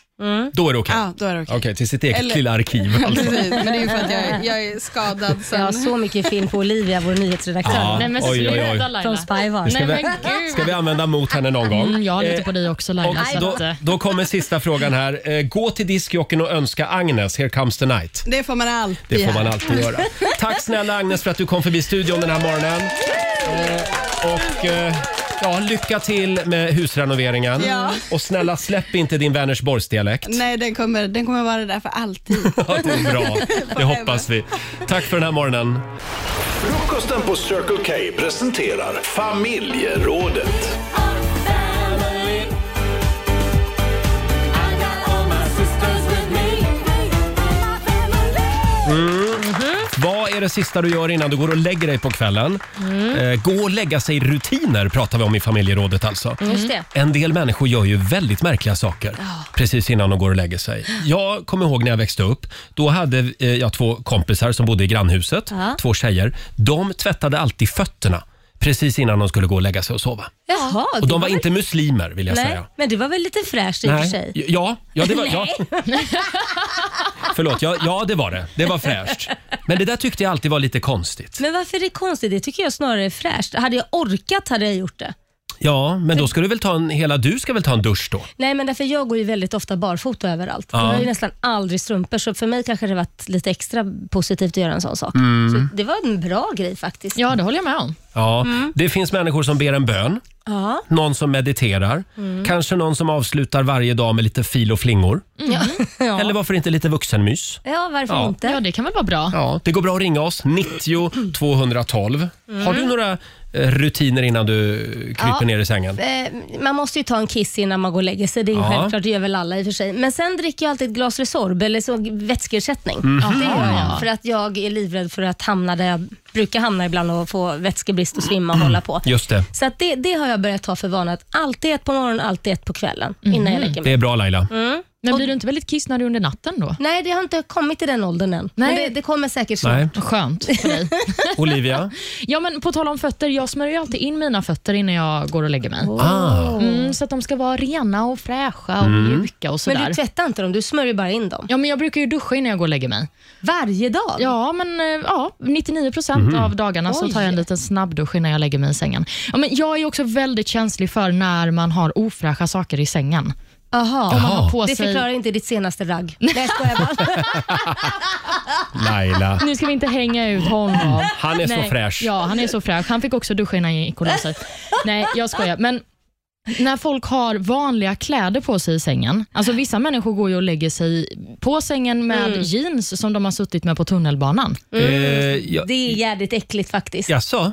S1: Då är det okej.
S14: Ja, då är det okej.
S1: Okej, till sitt eget lilla arkiv.
S14: Ja,
S1: Alltså.
S14: precis. Men det är ju för att jag, jag är skadad sen.
S2: Jag har så mycket film på Olivia, vår nyhetsredaktör.
S1: Ja, Nej, men oj, sluta, oj, oj. Laila.
S2: Från Spybar.
S1: Det ska, vi, ska vi använda mot henne någon gång?
S3: Mm, jag har lite
S1: Eh,
S3: på dig också Laila.
S1: och
S3: så
S1: då,
S3: att, eh,
S1: då kommer sista frågan här. Eh, Gå till diskjocken och önska Agnes Here comes the night.
S14: Det får man alltid
S1: Det får
S14: göra.
S1: man alltid göra. Tack snälla Agnes för att du kom förbi studion den här morgonen. Eh, Och eh, ja, lycka till med husrenoveringen.
S14: Ja.
S1: Och snälla släpp inte din Vänersborgsdialekt.
S14: Nej, den kommer, den kommer vara där för alltid.
S1: Ja, det är bra. Det hoppas vi. Tack för den här morgonen.
S12: Frukosten på Circle K presenterar familjerådet.
S1: Vad är det sista du gör innan du går och lägger dig på kvällen?
S2: Mm.
S1: Eh, gå och lägga sig rutiner pratar vi om i familjerådet alltså.
S2: Mm. Just det.
S1: En del människor gör ju väldigt märkliga saker precis innan de går och lägger sig. Jag kommer ihåg när jag växte upp. Då hade eh, jag två kompisar som bodde i grannhuset.
S2: Ja.
S1: Två tjejer. De tvättade alltid fötterna precis innan de skulle gå och lägga sig och sova.
S2: Jaha,
S1: Och
S2: det
S1: de var inte muslimer vill jag
S2: Nej,
S1: säga.
S2: men det var väl lite fräscht i och för sig?
S1: Nej. Ja, ja, det var, ja,
S2: Nej.
S1: förlåt. Ja, ja, det var det. Det var fräscht. Men det där tyckte jag alltid var lite konstigt.
S2: Men varför är det konstigt? Det tycker jag snarare är fräscht. Hade jag orkat hade jag gjort det.
S1: Ja, men då ska du väl ta en, hela du ska väl ta en dusch då?
S2: Nej, men därför jag går ju väldigt ofta barfota överallt.
S1: Ja.
S2: Jag har ju nästan aldrig strumpor, så för mig kanske det varit lite extra positivt att göra en sån sak.
S1: Mm.
S2: Så det var en bra grej faktiskt.
S3: Ja, det håller jag med om.
S1: Ja,
S2: Mm.
S1: det finns människor som ber en bön,
S2: Ja.
S1: någon som mediterar,
S2: Mm.
S1: kanske någon som avslutar varje dag med lite fil och flingor.
S2: Ja.
S1: Eller varför inte lite vuxenmys?
S2: ja, varför
S1: Ja.
S2: inte?
S3: Ja, det kan väl vara bra.
S1: Ja, det går bra att ringa oss, 90 212. Har du några eh, rutiner innan du kryper
S2: Ja,
S1: ner i sängen?
S2: eh, Man måste ju ta en kiss innan man går och lägger sig. Det är ju
S1: Ja.
S2: självklart, det gör väl alla i och för sig. Men sen dricker jag alltid ett glas Resorb eller så vätskeersättning.
S1: Mhm.
S2: Det gör
S1: Ja.
S2: jag, för att jag är livrädd för att hamna där jag brukar hamna ibland och få vätskebrist och svimma och hålla på.
S1: Just det.
S2: Så att det, det har jag börjat ta för vana att alltid ett på morgonen, alltid ett på kvällen innan jag lägger
S1: Det
S2: mig.
S1: är bra Laila.
S2: Mm.
S3: Men blir du inte väldigt kissnödig under natten då?
S2: Nej, det har inte kommit till den åldern än. Nej. Men det, det kommer säkert
S1: Nej.
S2: snart.
S3: Skönt för dig.
S1: Olivia?
S3: Ja, men på tal om fötter, jag smörjer ju alltid in mina fötter innan jag går och lägger mig.
S1: Ah.
S3: Mm, så att de ska vara rena och fräscha och
S1: Mm.
S3: mjuka och sådär.
S2: Men du tvättar inte dem, du smörjer bara in dem.
S3: Ja, men jag brukar ju duscha innan jag går och lägger mig.
S2: Varje dag?
S3: Ja, men eh, ja, 99 procent
S2: Mhm.
S3: av dagarna så
S2: Oj.
S3: tar jag en liten snabbdusch innan jag lägger mig i sängen. Ja, men jag är också väldigt känslig för när man har ofräscha saker i sängen.
S2: Aha.
S3: Om man har på
S2: det
S3: sig-
S2: förklarar inte ditt senaste ragg. Nej, jag skojar bara.
S1: Laila.
S3: Nu ska vi inte hänga ut honom.
S1: Han är så
S3: Nej.
S1: fräsch.
S3: Ja, han är så fräsch. Han fick också duscha innan han gick och la sig. Nej, jag skojar. Men när folk har vanliga kläder på sig i sängen. Alltså Vissa människor går ju och lägger sig på sängen med jeans som de har suttit med på tunnelbanan.
S1: Mm. Eh, jag-
S2: Det är jävligt äckligt faktiskt.
S1: Jaså?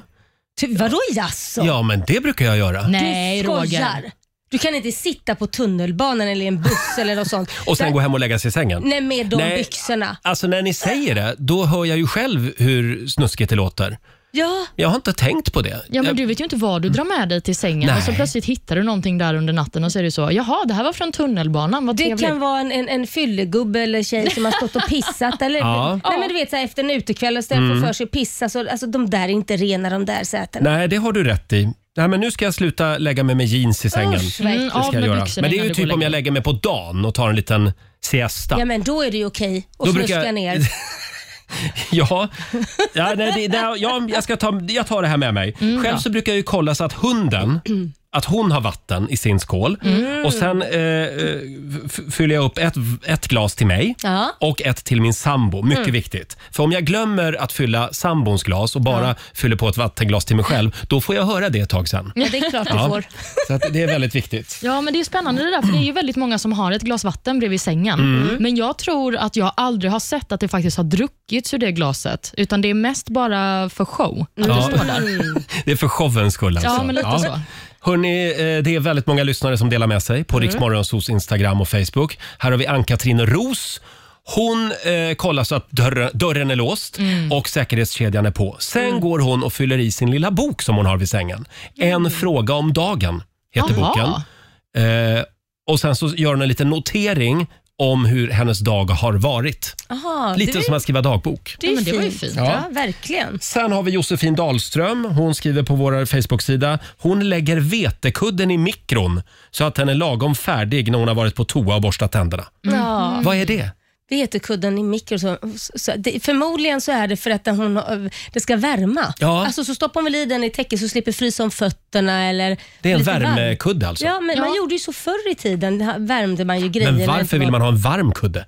S2: Ty, Typ, vadå jaså?
S1: Ja, men det brukar jag göra.
S2: du skojar. Du kan inte sitta på tunnelbanan eller i en buss eller något sånt.
S1: Och sen
S2: Där-
S1: gå hem och lägga sig i sängen?
S2: Nej, med de
S1: Nej.
S2: byxorna.
S1: Alltså när ni säger det, då hör jag ju själv hur snuskigt det låter.
S2: Ja.
S1: Jag har inte tänkt på det.
S3: Ja, men du vet ju inte vad du drar med dig till sängen och så
S1: Nej.
S3: plötsligt hittar du någonting där under natten och så är det så, jaha, det här var från tunnelbanan, vad
S2: Det
S3: trevligt.
S2: kan vara en, en, en fyllegubbe eller tjej som har stått och pissat. Eller,
S1: Ja.
S2: nej, men du vet, så här, efter en utekväll och istället
S1: Mm.
S2: för för sig att pissa, så, alltså, de där är inte rena de där sätena.
S1: Nej, det har du rätt i. Nej, men nu ska jag sluta lägga mig med jeans i sängen.
S2: Usch, verkligen.
S1: det
S2: Mm,
S1: ska
S2: av
S1: jag
S2: med
S1: göra.
S2: byxorna
S1: Men det är
S2: innan
S1: ju
S2: du går
S1: typ
S2: och
S1: om jag lägger mig på dagen och tar en liten siesta.
S2: Ja, men då är det ju okej att
S1: Då
S2: snuska
S1: brukar jag-
S2: ner.
S1: Ja, ja, nej, det, det, ja jag, ska ta, jag tar det här med mig.
S2: Mm,
S1: Själv
S2: ja.
S1: så brukar jag ju kolla så att hunden att hon har vatten i sin skål
S2: Mm.
S1: och sen eh, eh, f- fyller jag upp ett, ett glas till mig
S2: Ja.
S1: och ett till min sambo. Mycket
S2: Mm.
S1: viktigt. För om jag glömmer att fylla sambons glas och bara fyller på ett vattenglas till mig själv, då får jag höra det ett tag sen.
S2: Ja, det är klart du
S1: Ja,
S2: får.
S1: Så att det är väldigt viktigt.
S3: Ja, men det är spännande det där, för det är ju väldigt många som har ett glas vatten bredvid sängen.
S1: Mm.
S3: Men jag tror att jag aldrig har sett att det faktiskt har druckits ur det glaset, utan det är mest bara för show. Att det
S1: Ja.
S3: står där.
S1: Det är för showens skull
S3: Ja,
S1: alltså.
S3: men lite så.
S1: Hörrni, eh, det är väldigt många lyssnare som delar med sig på
S3: Mm.
S1: Riksmorgonsos Instagram och Facebook. Här har vi Ann-Katrin Ros. Hon eh, kollar så att dörren, dörren är låst
S3: Mm.
S1: och säkerhetskedjan är på. Sen går hon och fyller i sin lilla bok som hon har vid sängen. En fråga om dagen heter
S3: Mm. Jaha.
S1: boken. Eh, och sen så gör hon en liten notering om hur hennes dag har varit.
S2: Aha, det,
S1: Lite
S2: var-
S1: som att skriva dagbok.
S2: det, är men det var ju fint. Ja. verkligen.
S1: Sen har vi Josefin Dahlström. Hon skriver på vår Facebook-sida. Hon lägger vetekudden i mikron så att den är lagom färdig när hon har varit på toa och borstat tänderna.
S2: Mm. Ja.
S1: Vad är det?
S2: Vetekudden i mikro. Så, så, det, förmodligen så är det för att den hon, har- det ska värma.
S1: Ja.
S2: Alltså, så stoppar man väl i den i täcket så slipper frysa om fötterna. Eller
S1: Det är en
S2: lite varm.
S1: värmekudde alltså.
S2: Ja, men man gjorde ju så förr i tiden. ha- Värmde man ju grejer.
S1: Men
S2: när det
S1: varför
S2: inte
S1: vill
S2: var-
S1: man ha en varm kudde?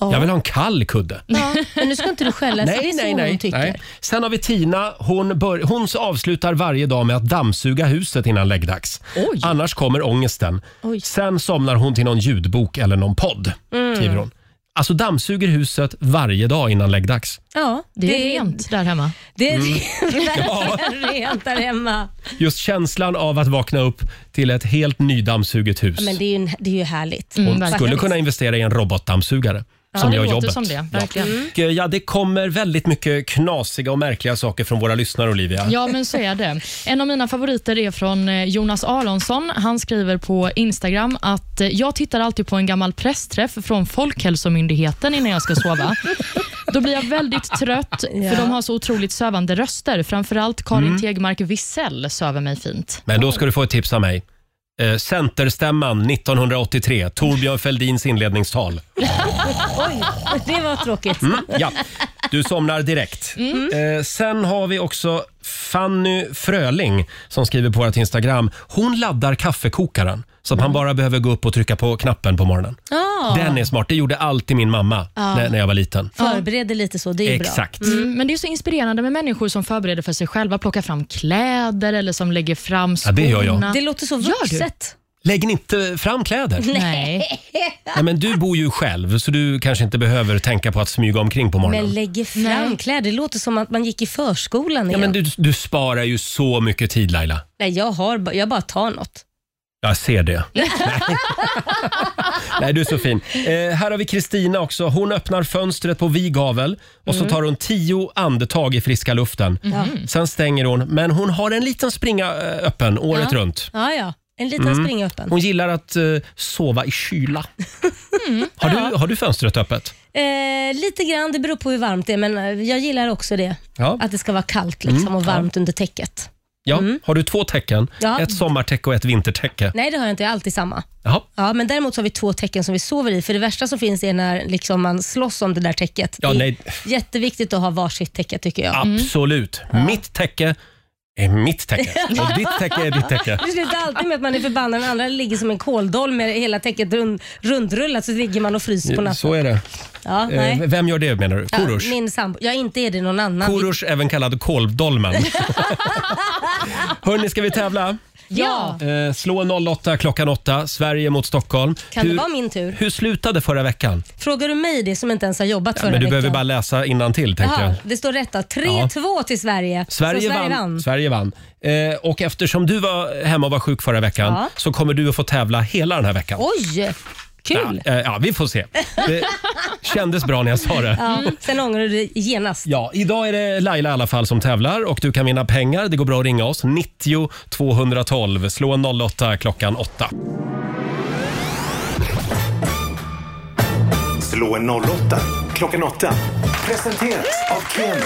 S2: Ja.
S1: Jag vill ha en kall kudde.
S2: Ja, men nu ska inte du skälla. så Alltså, det är så hon tycker.
S1: Sen har vi Tina. Hon, bör, hon avslutar varje dag med att dammsuga huset innan läggdags.
S2: Oj.
S1: Annars kommer ångesten. Sen somnar hon till någon ljudbok eller någon podd.
S2: Mm.
S1: Skriver hon. Alltså dammsuger huset varje dag innan läggdags.
S2: Ja,
S3: det, är rent där hemma.
S2: Det är
S1: Mm.
S2: verkligen rent där hemma.
S1: Just känslan av att vakna upp till ett helt nydammsuget hus.
S2: Ja, men det är ju, en- det är ju härligt.
S1: Hon skulle
S2: Faktiskt.
S1: kunna investera i en robotdammsugare
S2: Ja,
S1: som
S2: det
S1: gör
S2: låter
S1: jobbet.
S2: som det, Mm.
S3: verkligen.
S1: Ja. Och, eh, Ja, det kommer väldigt mycket knasiga och märkliga saker från våra lyssnare, Olivia.
S3: Ja, men så är det. En av mina favoriter är från eh, Jonas Aronsson. Han skriver på Instagram att eh, jag tittar alltid på en gammal pressträff från Folkhälsomyndigheten innan jag ska sova. Då blir jag väldigt trött,
S2: Ja.
S3: för de har så otroligt sövande röster. Framförallt Karin
S1: Mm.
S3: Tegmark Wisell söver mig fint.
S1: Men då ska du få ett tips av mig. Eh, Centerstämman 1983, Torbjörn Fälldins inledningstal.
S2: Oj, det var tråkigt.
S1: Mm, ja. Du somnar direkt.
S2: Mm.
S1: Eh, sen har vi också Fanny Fröling som skriver på vårt Instagram. Hon laddar kaffekokaren så
S2: Mm.
S1: att man bara behöver gå upp och trycka på knappen på morgonen.
S2: Ja.
S1: Den är smart. Det gjorde alltid min mamma
S3: Ja.
S1: när, när jag var liten.
S2: Förbereder lite så, Ah. det är ju bra.
S1: Exakt.
S3: Mm, men det är så inspirerande med människor som förbereder för sig själva, plockar fram kläder eller som lägger fram
S1: Ja,
S3: skorna.
S1: det gör jag. Det
S2: låter så
S1: vuxet. Lägg inte fram kläder.
S3: Nej.
S1: Nej, men du bor ju själv så du kanske inte behöver tänka på att smyga omkring på morgonen.
S2: Men lägger fram kläder, det låter som att man gick i förskolan
S1: Ja,
S2: igen.
S1: men du, du sparar ju så mycket tid Laila.
S2: Nej, jag, har, ba- jag bara tar något.
S1: Jag ser det. Nej. Nej, du är så fin. Eh, här har vi Kristina också. Hon öppnar fönstret på vid gavel och så
S2: Mm.
S1: tar hon tio andetag i friska luften.
S2: Mhm.
S1: Sen stänger hon, men hon har en liten springa eh, öppen året
S2: ja.
S1: runt.
S2: Ja, ja. En liten
S1: Mm.
S2: springa öppen.
S1: Hon gillar att eh, sova i kyla.
S2: Mm.
S1: Har, du, har du fönstret öppet?
S2: Eh, lite grann, det beror på hur varmt det är, men eh, jag gillar också det.
S1: Ja.
S2: Att det ska vara kallt liksom,
S1: Mm,
S2: och
S1: ja.
S2: varmt under täcket.
S1: Ja. Har du två tecken?
S2: Ja.
S1: Ett sommartäcke och ett vintertäcke?
S2: Nej, det har jag inte. Jag har alltid samma.
S1: Jaha.
S2: Ja, men däremot så har vi två tecken som vi sover i, för det värsta som finns är när liksom man slåss om det där täcket.
S1: Ja,
S2: det är
S1: nej.
S2: jätteviktigt att ha varsitt täcke tycker jag.
S1: Absolut. Mitt täcke är mitt täcke och ditt täcke är ditt täcke.
S2: Det slutar alltid med att man är förbannad. Den andra ligger som en kåldolm med hela täcket rund, rundrullat, så ligger man och fryser på natten.
S1: Så är det.
S2: Ja,
S1: Eh,
S2: nej.
S1: Vem gör det menar du? Korosh?
S2: Ja, min sambo. Ja, inte är det någon annan.
S1: Korosh, även kallad kolvdolmen. Hörni, ska vi tävla?
S2: Ja.
S1: Eh, slå 08 klockan 8, Sverige mot Stockholm.
S2: Kan det vara min tur?
S1: Hur slutade förra veckan?
S2: Frågar du mig det som inte ens har jobbat
S1: Ja,
S2: förra
S1: men du
S2: veckan?
S1: behöver bara läsa innan till tänkte
S2: Jaha,
S1: jag.
S2: det står rätt då. 3-2
S1: Ja.
S2: till Sverige.
S1: Sverige,
S2: Så
S1: vann. Sverige vann. Eh, och eftersom du var hemma och var sjuk förra veckan
S2: Ja.
S1: så kommer du att få tävla hela den här veckan.
S2: Oj, kul.
S1: Ja, eh, ja, vi får se. Det kändes bra när jag sa det.
S2: Ja. Sen ångrar du dig genast.
S1: Ja, idag är det Laila i alla fall som tävlar och du kan vinna pengar. Det går bra att ringa oss. 90 212. Slå en 08 klockan 8.
S12: Slå en 08 klockan 8. Presenteras av Keno.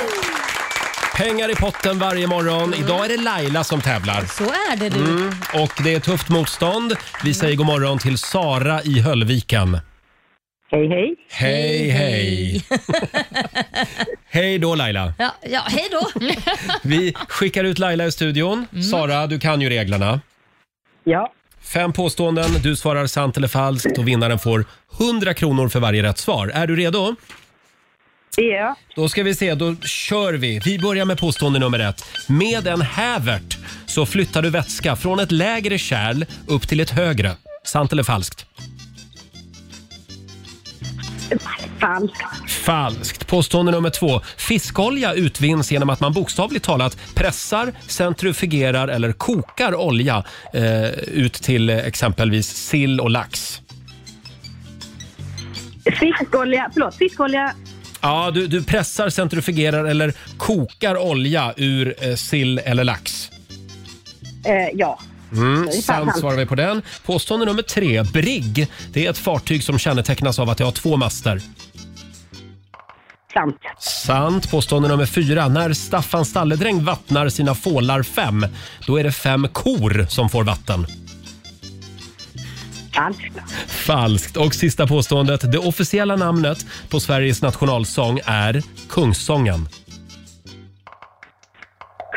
S1: Pengar i potten varje morgon. Idag är det Laila som tävlar.
S2: Så är det du.
S1: Mm, och det är tufft motstånd. Vi säger god morgon till Sara i Höllviken.
S15: Hej, hej.
S1: Hej, hej. hej då Laila.
S2: Ja, ja hej då.
S1: Vi skickar ut Laila i studion. Sara, du kan ju reglerna.
S15: Ja.
S1: Fem påståenden, du svarar sant eller falskt och vinnaren får 100 kronor för varje rätt svar. Är du redo?
S15: Ja.
S1: Då ska vi se, då kör vi. Vi börjar med påstående nummer ett. Med en hävert så flyttar du vätska från ett lägre kärl upp till ett högre. Sant eller falskt?
S15: Falskt.
S1: Falskt. Påstående nummer två. Fiskolja utvinns genom att man bokstavligt talat pressar, centrifugerar eller kokar olja eh, ut till eh, exempelvis sill och lax.
S15: Fiskolja, förlåt, fiskolja.
S1: Ja, du, du pressar, centrifugerar eller kokar olja ur eh, sill eller lax.
S15: Eh, ja.
S1: Mm,
S15: Det är
S1: sant
S15: sant.
S1: svarar vi på den. Påstående nummer tre. Brigg. Det är ett fartyg som kännetecknas av att det har två master.
S15: Sant.
S1: Sant. Påstående nummer fyra. När Staffan stalledräng vattnar sina fålar fem, då är det fem kor som får vatten.
S15: Falskt.
S1: Falskt. Och sista påståendet. Det officiella namnet på Sveriges nationalsång är Kungssången.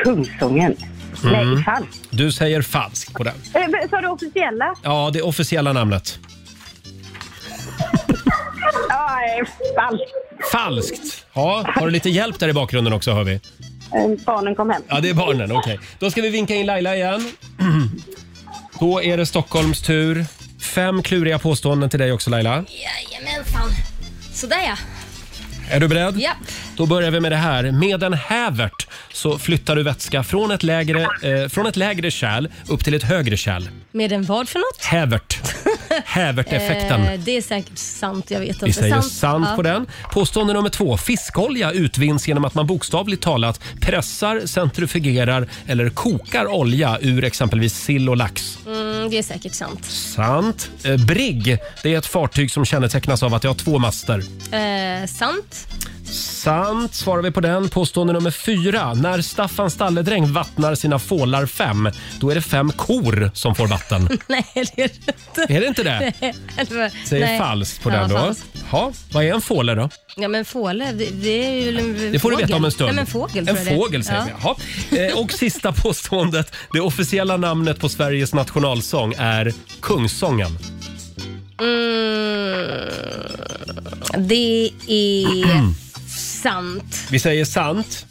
S15: Kungsången. Nej,
S1: Mm.
S15: falskt.
S1: Du säger falskt på den.
S15: Eh, sa du officiella?
S1: Ja, det officiella namnet.
S15: Nej, falskt.
S1: Falskt. Ja, har du lite hjälp där i bakgrunden också hör vi?
S15: Eh, Barnen kom hem.
S1: Ja, det är barnen. Okej. Då ska vi vinka in Laila igen. Då är det Stockholms tur. Fem kluriga påståenden till dig också Laila.
S11: Jajamensan. Sådär ja.
S1: Är du beredd?
S11: Japp.
S1: Då börjar vi med det här. Med en hävert så flyttar du vätska från ett lägre, eh, från ett lägre kärl upp till ett högre kärl.
S2: Med en vad för något?
S1: Hävert. Häverteffekten.
S2: Eh, det är säkert sant, jag vet inte.
S1: Vi säger sant,
S2: Ja.
S1: på den. Påstående nummer två. Fiskolja utvinns genom att man bokstavligt talat pressar, centrifugerar eller kokar olja ur exempelvis sill och lax.
S2: Mm, det är säkert sant.
S1: Sant. Eh, Brigg, det är ett fartyg som kännetecknas av att det har två master.
S2: Eh, sant.
S1: Sant svarar vi på den. Påstående nummer fyra. När Staffan stalledräng vattnar sina fålar fem, då är det fem kor som får vatten.
S2: Nej, det är det inte.
S1: Är det inte det?
S2: Nej, eller-
S1: Säger
S2: nej.
S1: falskt på
S2: ja,
S1: den då.
S2: falskt.
S1: Ja, vad är en fåle då?
S2: Ja, men fåle, det, det är ju en
S1: Det får
S2: fågel.
S1: du veta om en stund.
S2: Nej, men fågel
S1: en
S2: tror jag det är.
S1: fågel säger vi. Jaha. Eh, Och sista påståendet. Det officiella namnet på Sveriges nationalsång är Kungssången.
S2: Mm, det är sant.
S1: Vi säger sant.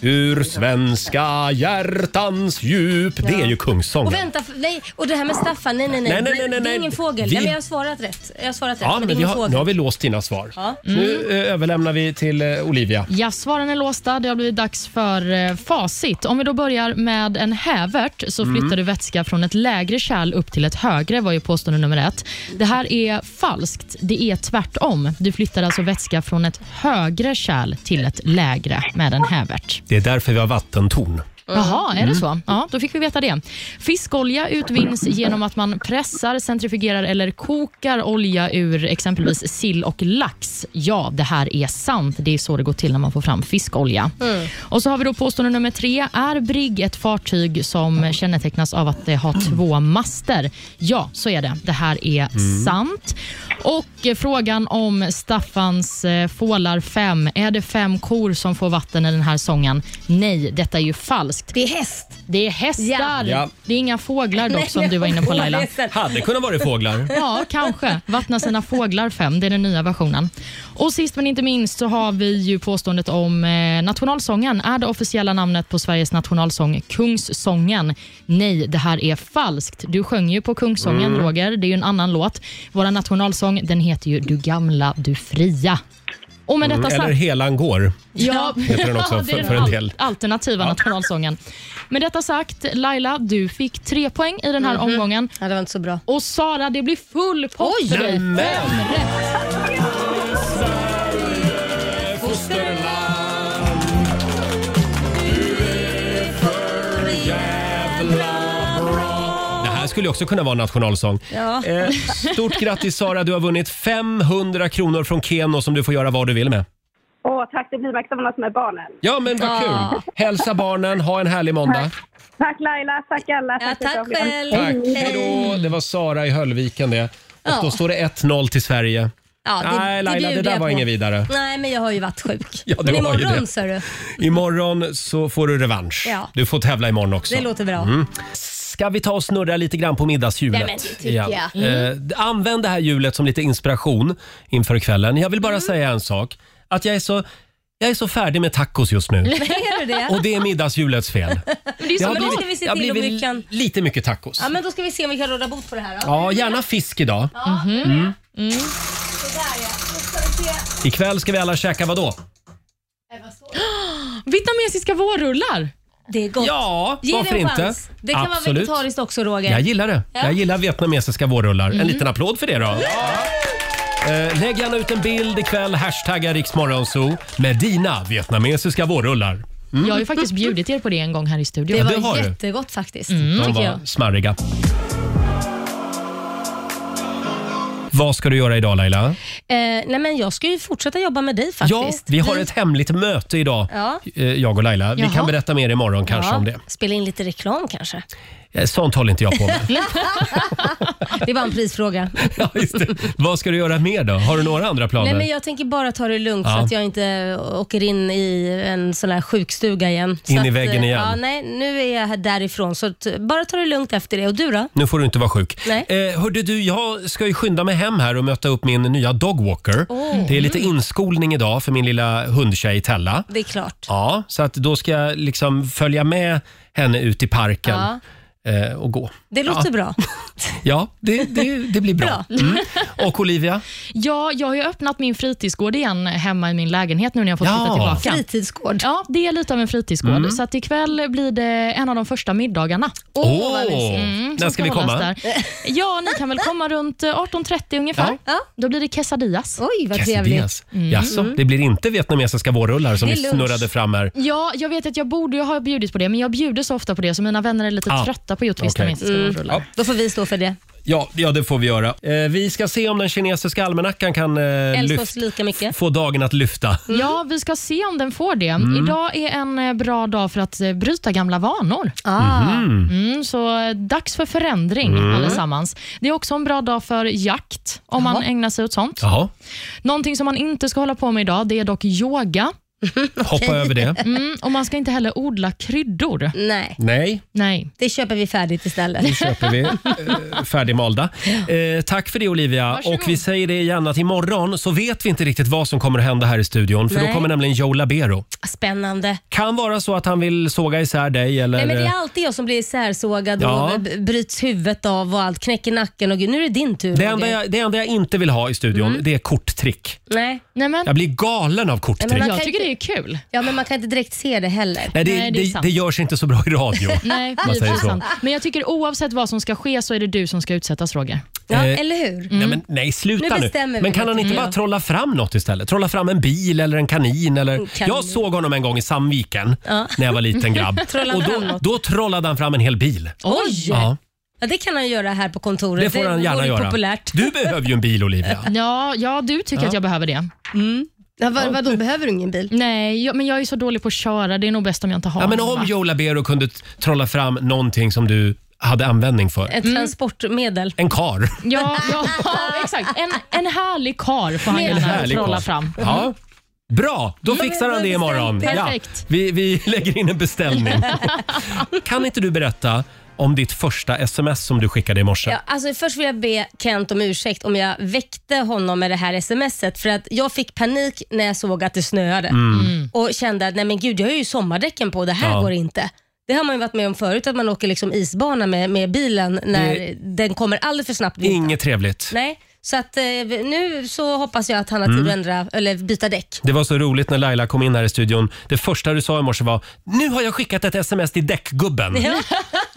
S1: Ur svenska hjärtans djup. Det är ju
S2: Och
S1: Kungssången.
S2: vänta, f- nej, och det här med Staffan, nej nej nej.
S1: Nej, nej, nej, nej,
S2: Det är
S1: nej.
S2: ingen fågel.
S1: Vi-
S2: Ja, men jag har svarat rätt. Jag har svarat rätt,
S1: Ja,
S2: det är
S1: men vi
S2: ingen
S1: har,
S2: fågel.
S1: nu har vi låst dina svar.
S2: Ja.
S1: Nu eh, överlämnar vi till eh, Olivia.
S3: Ja, svaren är låsta. Det har blivit dags för eh, facit. Om vi då börjar med en hävert så
S16: Mm.
S3: flyttar du vätska från ett lägre kärl upp till ett högre var ju påstående nummer ett. Det här är falskt. Det är tvärtom. Du flyttar alltså vätska från ett högre kärl till ett lägre med en hävert.
S1: Det är därför vi har vattentorn.
S3: Jaha, är det
S1: Mm.
S3: så? Ja, då fick vi veta det. Fiskolja utvinns genom att man pressar, centrifugerar eller kokar olja ur exempelvis sill och lax. Ja, det här är sant. Det är så det går till när man får fram fiskolja.
S16: Mm.
S3: Och så har vi då påstående nummer tre. Är brigg ett fartyg som kännetecknas av att det har två master? Ja, så är det. Det här är
S16: Mm.
S3: sant. Och eh, frågan om Staffans eh, fålar fem. Är det fem kor som får vatten i den här sången? Nej, detta är ju falskt.
S2: Det är häst.
S3: Det är hästar.
S1: Ja. Ja.
S3: Det är inga fåglar dock
S1: Nej,
S3: som du var inne på Laila.
S1: Hade kunnat vara fåglar.
S3: Ja, kanske. Vattna sina fåglar fem, det är den nya versionen. Och sist men inte minst så har vi ju påståendet om eh, nationalsången. Är det officiella namnet på Sveriges nationalsång Kungssången? Nej, det här är falskt. Du sjöng ju på Kungssången,
S16: Mm.
S3: Roger. Det är ju en annan låt. Vår nationalsång, den heter ju Du gamla, du fria. Och med detta
S1: Mm,
S3: sagt...
S1: Eller Helan går.
S3: Ja,
S1: Heter den också
S3: det är
S1: för,
S3: den
S1: för en del.
S3: al- alternativa nationalsången. Med detta sagt, Laila, du fick tre poäng i den här
S2: Mhm.
S3: omgången.
S2: Ja, det var inte så bra.
S3: Och Sara, det blir full pott
S2: Oj!
S3: för dig.
S2: Nämen!
S3: Fem rätt.
S1: Det här skulle ju också kunna vara en nationalsång.
S2: Ja.
S1: Eh, Stort grattis Sara, du har vunnit 500 kronor från Keno som du får göra vad du vill med.
S15: Åh, tack. Det blir McDonalds med barnen.
S1: Ja men vad kul!
S15: Ja.
S1: Hälsa barnen, ha en härlig måndag.
S15: Tack Laila, tack alla. Tack, ja, tack själv.
S1: Tack. Hejdå. Det var Sara i Höllviken det. Och
S2: Ja.
S1: då står det 1-0 till Sverige.
S2: Ja, det,
S1: Nej Laila, det,
S2: bjuder
S1: där
S2: jag
S1: var
S2: på.
S1: inget vidare.
S2: Nej, men jag har ju varit sjuk.
S1: Ja, du
S2: men
S1: har ju
S2: imorgon
S1: det.
S2: sa du.
S1: Imorgon så får du revansch.
S2: Ja.
S1: Du får tävla imorgon också.
S2: Det låter bra.
S1: Mm. Ska vi ta och snurra lite grann på middagshjulet?
S2: Nej, men det tycker
S1: igen?
S2: jag. Mm.
S1: Eh, använd det här hjulet som lite inspiration inför kvällen. Jag vill
S2: Mm.
S1: bara säga en sak. Att jag är så, jag är så färdig med tacos just nu.
S2: Är du det?
S1: Och det är middagshjulets fel.
S2: Men det är
S1: Jag
S2: så
S1: har
S2: bra. Då
S1: blivit-
S2: ska vi se
S1: jag har
S2: till om vi
S1: blivit
S2: kan...
S1: Lite mycket tacos.
S2: Ja, men då ska vi se om vi kan råda bot på det här. Då.
S1: Ja, gärna fisk idag.
S2: Ja, det är det.
S1: Mm.
S2: Mm. Sådär ja. Då ska vi se.
S1: Ikväll ska vi alla käka vadå?
S3: Vietnamesiska vårrullar.
S2: Det är gott.
S1: Ja,
S2: Ge
S1: varför
S2: det en
S1: inte?
S2: chans. Det kan vara
S1: Absolut.
S2: vegetariskt också Roger.
S1: Jag gillar det.
S2: Ja.
S1: Jag gillar vietnamesiska vårrullar. En
S2: Mm.
S1: liten applåd för det då. Eh, lägg gärna ut en bild ikväll, hashtagga riksmorgonzoo med dina vietnamesiska vårrullar. Mm.
S3: Jag har ju faktiskt bjudit er på det en gång här i studion.
S1: Det var Ja, det har du. Mm.
S2: jättegott faktiskt.
S1: De var smarriga. Vad ska du göra idag Laila?
S2: Eh, nej men jag ska ju fortsätta jobba med dig faktiskt.
S1: Ja, vi har ett hemligt möte idag,
S2: Ja.
S1: eh, jag och Laila. Vi
S2: Jaha.
S1: kan berätta mer imorgon kanske
S2: Ja,
S1: om det.
S2: Spela in lite reklam kanske.
S1: Eh, Sånt håller inte jag på med.
S2: det var en prisfråga.
S1: Ja, just det. Vad ska du göra mer då? Har du några andra planer?
S2: Nej, men jag tänker bara ta det lugnt
S1: Ja.
S2: så att jag inte åker in i en sån här sjukstuga igen. Så
S1: In i
S2: att, eh,
S1: väggen igen.
S2: Ja, nej, nu är jag här därifrån. Så att, eh, bara ta det lugnt efter det. Och du då?
S1: Nu får du inte vara sjuk.
S2: Nej.
S1: Eh, hörde du, jag ska ju skynda mig hem här och möta upp min nya dogwalker.
S2: Åh.
S1: Det är lite inskolning idag för min lilla hundtjej Tella.
S2: Det är klart.
S1: Ja, så att då ska jag liksom följa med henne ut i parken
S2: Ja.
S1: eh, och gå.
S2: Det låter
S1: ja.
S2: bra.
S1: Ja, det, det, det blir bra.
S3: Bra.
S1: Mm. Och Olivia?
S3: Ja, jag har ju öppnat min fritidsgård igen hemma i min lägenhet nu när jag fått flytta
S1: Ja.
S3: tillbaka.
S2: Fritidsgård?
S3: Ja, det är lite av en fritidsgård.
S1: Mm.
S3: Så att ikväll blir det en av de första middagarna.
S1: Åh, Åh, vad mysigt. när
S3: som
S1: ska vi
S3: hållas
S1: komma?
S3: Ja, ni kan väl komma runt eh, 18.30 ungefär. Då blir det quesadillas.
S2: Oj, vad
S1: Quesadillas. Jaså, det blir inte vietnamesiska vårrullar som
S3: Det
S1: vi
S3: är lunch.
S1: snurrade fram här.
S3: Ja, jag vet att jag borde ju ha bjudit på det, men jag bjuder så ofta på det, så mina vänner är lite
S1: Ah.
S3: trötta på just
S1: Okej.
S3: vietnamesiska
S1: Mm.
S3: rullar.
S1: Ja.
S2: Då får vi stå för det.
S1: Ja, ja, det får vi göra. Eh, vi ska se om den kinesiska almanackan kan eh,
S3: Älska
S1: lyft,
S3: oss lika mycket.
S1: få dagen att lyfta.
S3: Ja, vi ska se om den får det.
S1: Mm.
S3: Idag är en eh, bra dag för att eh, bryta gamla vanor.
S2: Ah.
S1: Mhm.
S3: Mm, så eh, dags för förändring
S1: Mm.
S3: allesammans. Det är också en bra dag för jakt, om man ägnar sig åt sånt.
S1: Jaha.
S3: Någonting som man inte ska hålla på med idag, det är dock yoga.
S1: Hoppa över det.
S3: Mm, och man ska inte heller odla kryddor.
S2: Nej.
S1: Nej,
S3: Nej.
S2: Det köper vi färdigt istället. Det
S1: köper vi. Eh, färdigmalda. Eh, tack för det Olivia. Och vi säger det igen att imorgon så vet vi inte riktigt vad som kommer att hända här i studion för då
S2: Nej.
S1: kommer nämligen Joe Labero.
S2: Spännande.
S1: Kan vara så att han vill såga isär dig eller...
S2: Nej, men det är alltid jag som blir särsågad
S1: Ja.
S2: och b- bryts huvudet av och allt. Knäcker nacken och gud, nu är det Mm. din tur.
S1: det,
S2: Roger.
S1: enda jag, det enda jag inte vill ha i studion det är korttrick.
S2: Nej.
S3: Nej, men...
S1: Jag blir galen av korttrick.
S2: man kan
S3: det är kul.
S2: Ja, men man kan inte direkt se det heller.
S1: Nej, det, det, det, görs inte så bra i radio.
S3: Nej,
S1: om man säger så.
S3: sant. Men jag tycker oavsett vad som ska ske så är det du som ska utsättas, Roger.
S1: Ja, Eh, eller
S2: hur?
S1: Nej, men, nej, sluta
S3: Nu
S1: nu.
S3: bestämmer vi
S1: Men kan han
S3: lite
S1: inte
S3: mer.
S1: bara trolla fram något istället? Trolla fram en bil eller en kanin. Eller...
S2: En kanin.
S1: Jag såg honom en gång i Sandviken
S2: Ja.
S1: när jag var liten grabb.
S2: Trollade
S1: Och
S2: fram
S1: då,
S2: något.
S1: då trollade han fram en hel bil.
S2: Oj!
S1: Ja,
S2: Ja, det kan han göra här på kontoret.
S1: det får han gärna
S2: vore
S1: göra.
S2: populärt.
S1: Du behöver ju en bil Olivia.
S3: Ja, ja du tycker
S1: Ja.
S3: att jag behöver det.
S2: Mm. Ja, vad, vadå, behöver du ingen bil?
S3: Nej, jag, men jag är så dålig på att köra. Det är nog bäst om jag inte har
S1: Ja, men
S3: någon,
S1: om
S3: va?
S1: Joe Labero kunde t- trolla fram någonting som du hade användning för.
S2: Ett transportmedel.
S1: En kar.
S3: Ja, ja, exakt. En, en härlig kar får han
S1: En
S3: gärna
S1: härlig
S3: trolla
S1: karl.
S3: fram.
S1: Ja. Bra, då
S3: Mm.
S1: fixar han det imorgon. Ja,
S3: Perfekt.
S1: vi, vi lägger in en beställning. Kan inte du berätta om ditt första sms som du skickade i morse?
S2: Ja, alltså först vill jag be Kent om ursäkt om jag väckte honom med det här smset. För att jag fick panik när jag såg att det snöade
S1: Mm. Mm.
S2: och kände att nej men gud, jag har ju sommardäcken på. Det här
S1: Ja.
S2: går inte. Det har man ju varit med om förut, att man åker liksom isbana med, med bilen när
S1: Det-
S2: den kommer alldeles för snabbt.
S1: Inget trevligt.
S2: Nej, så att eh, nu så hoppas jag att han har tid
S1: Mm.
S2: att ändra, eller byta däck.
S1: Det var så roligt när Laila kom in här i studion. Det första du sa i morse var “Nu har jag skickat ett sms till däckgubben”.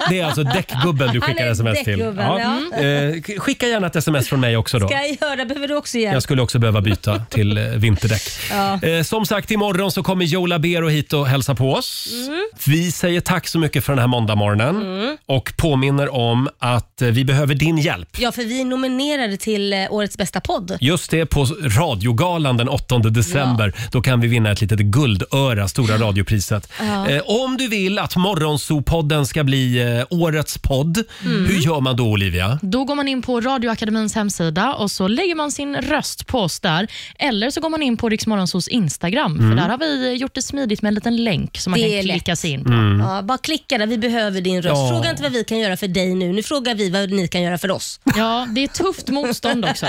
S1: Det är alltså däckgubben du
S2: Han
S1: skickar
S2: är
S1: sms till.
S2: däckgubben, ja.
S1: Eh, k- Skicka gärna ett sms från mig också då.
S2: Ska jag göra? Behöver du också hjälp?
S1: Jag skulle också behöva byta till eh, vinterdäck.
S2: Ja.
S1: Eh, Som sagt, imorgon så kommer Joe Labero hit och hälsa på oss.
S2: Mm.
S1: Vi säger tack så mycket för den här måndagmorgonen
S2: Mm.
S1: och påminner om att eh, vi behöver din hjälp.
S2: Ja, för vi är nominerade till eh, årets bästa podd.
S1: Just det, på radiogalan den 8 december. Då kan vi vinna ett litet guldöra, Stora radiopriset.
S2: Ja.
S1: Eh, om du vill att Morgonzoo-podden ska bli eh, årets podd,
S3: Mm.
S1: hur gör man då Olivia?
S3: Då går man in på Radioakademins hemsida och så lägger man sin röst på oss där. Eller så går man in på Riksmorgonsos Instagram,
S1: Mm.
S3: för där har vi gjort det smidigt med en liten länk som man
S2: Det
S3: kan
S2: är
S3: klicka sig in på.
S1: Mm.
S2: Ja, bara klicka där, vi behöver din röst.
S3: Ja.
S2: Fråga inte vad vi kan göra för dig nu, nu frågar vi vad ni kan göra för oss.
S3: Ja, det är tufft motstånd också.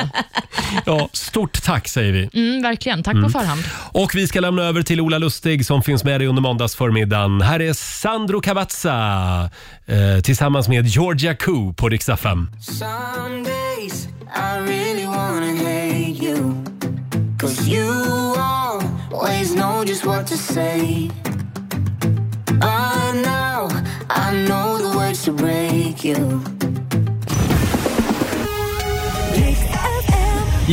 S1: Ja, stort tack säger vi.
S3: Mm, verkligen, tack
S1: Mm.
S3: på förhand.
S1: Och vi ska lämna över till Ola Lustig som finns med dig under måndagsförmiddagen. Här är Sandro Cavazza eh, tillsammans med Georgia Koo på riksdag fem.
S7: Some days I really wanna hate you. Cause you always know just what to say. But now I know the words to break you. Riks-FM.